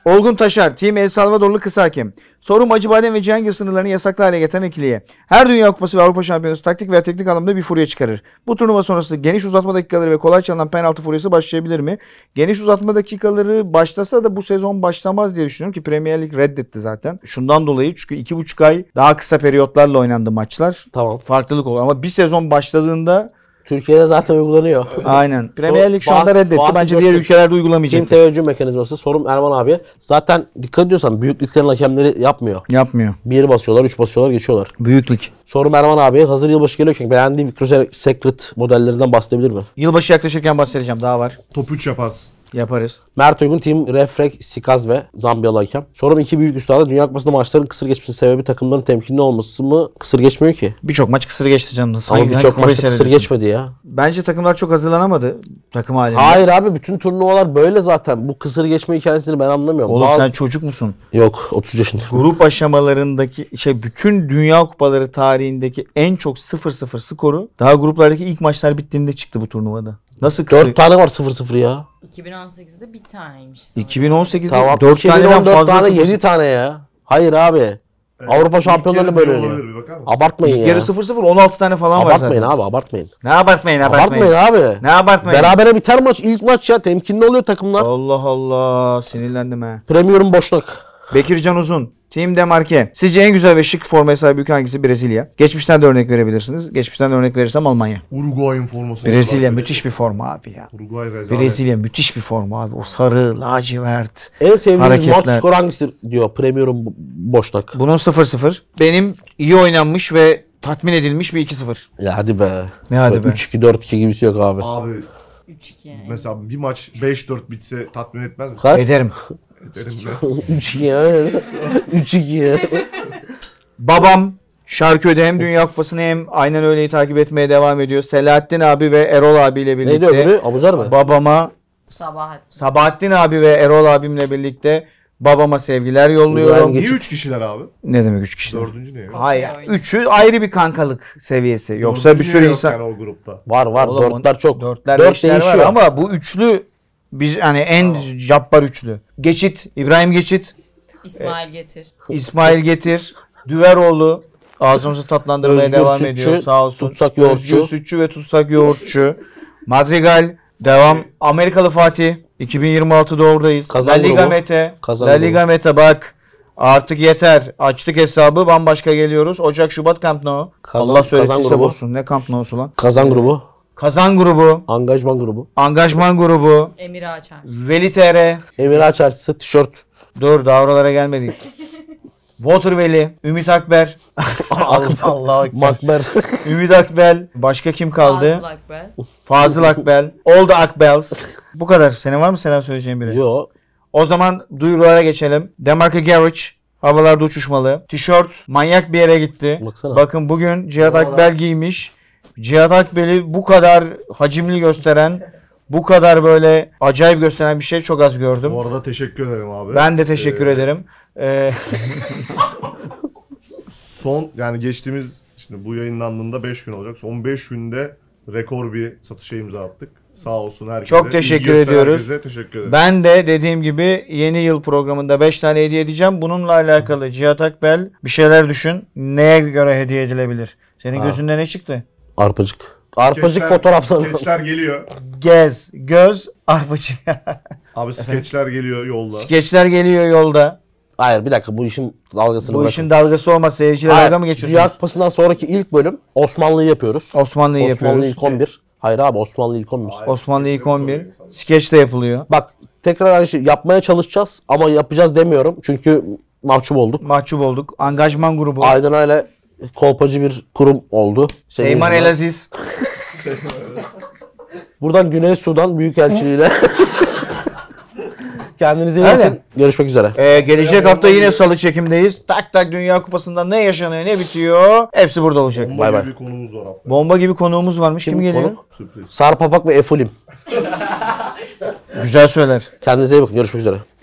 Speaker 1: Olgun Taşar, Team El Salvadorlu kısa hakem. Sorum Acıbadem ve Cihangir sınırlarını yasaklı hale getiren ikiliye. Her Dünya Kupası ve Avrupa Şampiyonası taktik veya teknik anlamda bir furya çıkarır. Bu turnuva sonrası geniş uzatma dakikaları ve kolay çalınan penaltı furyası başlayabilir mi? Geniş uzatma dakikaları başlasa da bu sezon başlamaz diye düşünüyorum ki Premier Lig reddetti zaten. Şundan dolayı çünkü iki buçuk ay daha kısa periyotlarla oynandı maçlar.
Speaker 2: Tamam.
Speaker 1: Farklılık olur ama bir sezon başladığında
Speaker 2: Türkiye'de zaten uygulanıyor.
Speaker 1: aynen. Premier Lig şu anda
Speaker 2: Fatih-
Speaker 1: reddetti.
Speaker 2: Fatih
Speaker 1: Bence diğer
Speaker 2: Gökçek-
Speaker 1: ülkelerde
Speaker 2: Kim
Speaker 1: uygulamayacak.
Speaker 2: teveccüh mekanizması? Sorum Erman abi. Zaten dikkat ediyorsan büyüklüklerin hakemleri yapmıyor.
Speaker 1: Yapmıyor.
Speaker 2: Bir basıyorlar, üç basıyorlar, geçiyorlar.
Speaker 1: Büyüklük.
Speaker 2: Sorum Erman abi. Hazır yılbaşı geliyorken beğendiğin Victoria's Secret modellerinden bahsedebilir mi?
Speaker 1: Yılbaşı yaklaşırken bahsedeceğim. Daha var.
Speaker 3: Top 3 yaparsın.
Speaker 1: Yaparız.
Speaker 2: Mert Uygun, Team Refrek, Sikaz ve Zambiyalı hakem. Sorum iki büyük üstada Dünya Kupası'nda maçların kısır geçmesi sebebi takımların temkinli olması mı? Kısır geçmiyor ki.
Speaker 1: Birçok maç kısır geçti canım.
Speaker 2: Ama
Speaker 1: Hangi-
Speaker 2: birçok
Speaker 1: hangi kupayı
Speaker 2: maçta kısır
Speaker 1: seyrediyorsun?
Speaker 2: geçmedi ya.
Speaker 1: Bence takımlar çok hazırlanamadı takım halinde.
Speaker 2: Hayır abi bütün turnuvalar böyle zaten. Bu kısır geçme hikayesini ben anlamıyorum.
Speaker 1: Oğlum
Speaker 2: Bazı-
Speaker 1: sen çocuk musun?
Speaker 2: Yok 30 yaşında.
Speaker 1: Grup aşamalarındaki şey bütün dünya kupaları tarihindeki en çok 0-0 skoru daha gruplardaki ilk maçlar bittiğinde çıktı bu turnuvada. Nasıl kısır?
Speaker 2: 4 tane var 0-0 ya.
Speaker 5: 2018'de bir taneymiş. sanırım.
Speaker 1: 2018'de
Speaker 2: Tamam.
Speaker 1: 4 taneden fazla
Speaker 2: tane
Speaker 1: 0-0.
Speaker 2: 7 tane ya. Hayır abi. Avrupa şampiyonları böyle
Speaker 3: oluyor.
Speaker 2: oluyor.
Speaker 3: Bir bakar mısın?
Speaker 2: Abartmayın ya.
Speaker 1: Yarı 0-0 16 tane falan var zaten.
Speaker 2: Abartmayın abi abartmayın.
Speaker 1: Ne abartmayın abartmayın.
Speaker 2: Abartmayın abi.
Speaker 1: Ne abartmayın.
Speaker 2: Berabere biter maç. ilk maç ya. Temkinli oluyor takımlar.
Speaker 1: Allah Allah sinirlendim ha.
Speaker 2: Premium boşluk.
Speaker 1: Bekircan Uzun. Team Demarke. Sizce en güzel ve şık formaya sahip ülke hangisi? Brezilya. Geçmişten de örnek verebilirsiniz. Geçmişten de örnek verirsem Almanya.
Speaker 3: Uruguay'ın forması.
Speaker 1: Brezilya müthiş bir forma abi ya.
Speaker 3: Uruguay rezalet.
Speaker 1: Brezilya müthiş bir forma abi. O sarı, lacivert.
Speaker 2: En sevdiğiniz maç
Speaker 1: Hareketler.
Speaker 2: skoru hangisidir diyor. Premium boşluk.
Speaker 1: Bunun 0-0. Benim iyi oynanmış ve tatmin edilmiş bir 2-0.
Speaker 2: Ya hadi be.
Speaker 1: Ne hadi be.
Speaker 2: 3-2 4-2 gibisi yok abi.
Speaker 3: Abi
Speaker 5: 3-2.
Speaker 3: mesela bir maç 5-4 bitse tatmin etmez mi?
Speaker 2: Kaç?
Speaker 1: Ederim.
Speaker 3: Derim ben.
Speaker 2: 3-2 ya. 3-2.
Speaker 1: Babam Şarköy'de hem Dünya Kupası'nı hem aynen öyleyi takip etmeye devam ediyor. Selahattin abi ve Erol abiyle
Speaker 2: Neydi
Speaker 1: birlikte.
Speaker 2: öbürü? Abuzer mi?
Speaker 1: Babama
Speaker 5: Sabah.
Speaker 1: Sabahattin abi ve Erol abimle birlikte babama sevgiler
Speaker 2: İbrahim
Speaker 1: yolluyorum.
Speaker 2: Ge-
Speaker 3: Niye 3 kişiler abi?
Speaker 1: Ne demek üç kişi?
Speaker 3: Dördüncü ne? ya?
Speaker 1: Hayır.
Speaker 5: Oyun.
Speaker 1: Üçü ayrı bir kankalık seviyesi. Yoksa bir
Speaker 3: Dördüncü
Speaker 1: sürü
Speaker 3: yok
Speaker 1: insan.
Speaker 3: yani o grupta.
Speaker 2: Var var.
Speaker 1: Oğlum,
Speaker 2: dörtler çok.
Speaker 1: Dörtler
Speaker 2: Dört
Speaker 1: beşler var
Speaker 2: değişiyor.
Speaker 1: ama bu üçlü biz hani en cabbar üçlü. Geçit, İbrahim Geçit,
Speaker 5: İsmail getir.
Speaker 1: İsmail Getir, Düveroğlu ağzımızı tatlandırmaya
Speaker 2: Özgür
Speaker 1: devam
Speaker 2: Sütçü,
Speaker 1: ediyor sağ olsun.
Speaker 2: Tutsak Yoğurtçu.
Speaker 1: Özgür Sütçü ve Tutsak Yoğurtçu. Madrigal devam. Amerikalı Fatih 2026'da oradayız.
Speaker 2: Kazan
Speaker 1: La Liga
Speaker 2: grubu.
Speaker 1: Mete.
Speaker 2: Kazan
Speaker 1: La
Speaker 2: grubu.
Speaker 1: Liga Mete bak. Artık yeter. Açtık hesabı bambaşka geliyoruz. Ocak, Şubat Camp Nou.
Speaker 2: Kazan-
Speaker 1: Allah söylettiyse
Speaker 2: Kazan grubu.
Speaker 1: bozsun. Ne Camp Nou'su lan?
Speaker 2: Kazan grubu,
Speaker 1: Kazan grubu,
Speaker 2: angajman grubu,
Speaker 1: Angajman grubu,
Speaker 5: Emir Açar.
Speaker 1: Veli TR.
Speaker 2: Emir Açarçısı, tişört,
Speaker 1: Dur daha oralara gelmedik. Water Veli, Ümit Akber. Allah
Speaker 2: makber.
Speaker 1: Ümit Akbel. Başka kim kaldı?
Speaker 5: Fazıl Akbel.
Speaker 1: Fazıl Akbel. All the Akbels. Bu kadar. Senin var mı selam söyleyeceğin biri?
Speaker 2: Yo.
Speaker 1: O zaman duyurulara geçelim. Demarca Garage havalarda uçuşmalı. Tişört manyak bir yere gitti.
Speaker 2: Baksana.
Speaker 1: Bakın bugün Cihat Akbel giymiş. Cihat Akbel'i bu kadar hacimli gösteren, bu kadar böyle acayip gösteren bir şey çok az gördüm.
Speaker 3: Bu arada teşekkür ederim abi.
Speaker 1: Ben de teşekkür
Speaker 3: Ee,
Speaker 1: ederim. Ee,
Speaker 3: Son yani geçtiğimiz şimdi bu yayınlandığında 5 gün olacak. Son 5 günde rekor bir satışa imza attık. Sağ olsun herkese.
Speaker 1: Çok teşekkür
Speaker 3: İlgi gösteren
Speaker 1: ediyoruz.
Speaker 3: Herkese teşekkür ederim.
Speaker 1: ben de dediğim gibi yeni yıl programında 5 tane hediye edeceğim. Bununla alakalı Cihat Akbel bir şeyler düşün. Neye göre hediye edilebilir? Senin
Speaker 2: Ha.
Speaker 1: gözünde ne çıktı?
Speaker 2: Arpacık. Arpacık
Speaker 3: Skeçler-
Speaker 2: fotoğrafları.
Speaker 3: Skeçler geliyor.
Speaker 1: Gez, göz, arpacık.
Speaker 3: Abi skeçler geliyor yolda.
Speaker 1: Skeçler geliyor yolda.
Speaker 2: Hayır bir dakika bu işin dalgasını
Speaker 1: Bu
Speaker 2: bırakın.
Speaker 1: işin dalgası olmaz. Seyirciyle
Speaker 2: Hayır,
Speaker 1: dalga mı geçiyorsunuz?
Speaker 2: Dünya Kupası'ndan sonraki ilk bölüm Osmanlı'yı yapıyoruz.
Speaker 1: Osmanlı'yı yapıyoruz.
Speaker 2: Osmanlı ilk 11. Hayır abi Osmanlı ilk 11.
Speaker 1: Osmanlı ilk
Speaker 3: Skeçleri
Speaker 1: 11.
Speaker 3: soruyor insanlar.
Speaker 1: Skeç de yapılıyor.
Speaker 2: Bak tekrar aynı şey yapmaya çalışacağız ama yapacağız demiyorum. Çünkü mahcup olduk.
Speaker 1: Mahcup olduk. Angajman grubu.
Speaker 2: Aydın Ayla kolpacı bir kurum oldu. Senin
Speaker 1: Seyman
Speaker 2: yüzünden.
Speaker 1: Elaziz.
Speaker 2: Buradan Güney Sudan Büyükelçiliğiyle. Kendinize iyi
Speaker 1: Öyle.
Speaker 2: bakın. Görüşmek üzere.
Speaker 1: Ee, gelecek hafta yine salı çekimdeyiz. Tak tak Dünya Kupası'nda ne yaşanıyor ne bitiyor. Hepsi burada olacak.
Speaker 3: Bomba
Speaker 2: Bay
Speaker 3: gibi
Speaker 2: bay.
Speaker 3: bir konumuz var hafta.
Speaker 1: Bomba gibi konuğumuz varmış. Kim,
Speaker 2: Kim
Speaker 1: geliyor?
Speaker 2: konuk?
Speaker 3: Sürpriz.
Speaker 2: Sarpapak ve Efulim.
Speaker 1: Güzel söyler.
Speaker 2: Kendinize iyi bakın. Görüşmek üzere.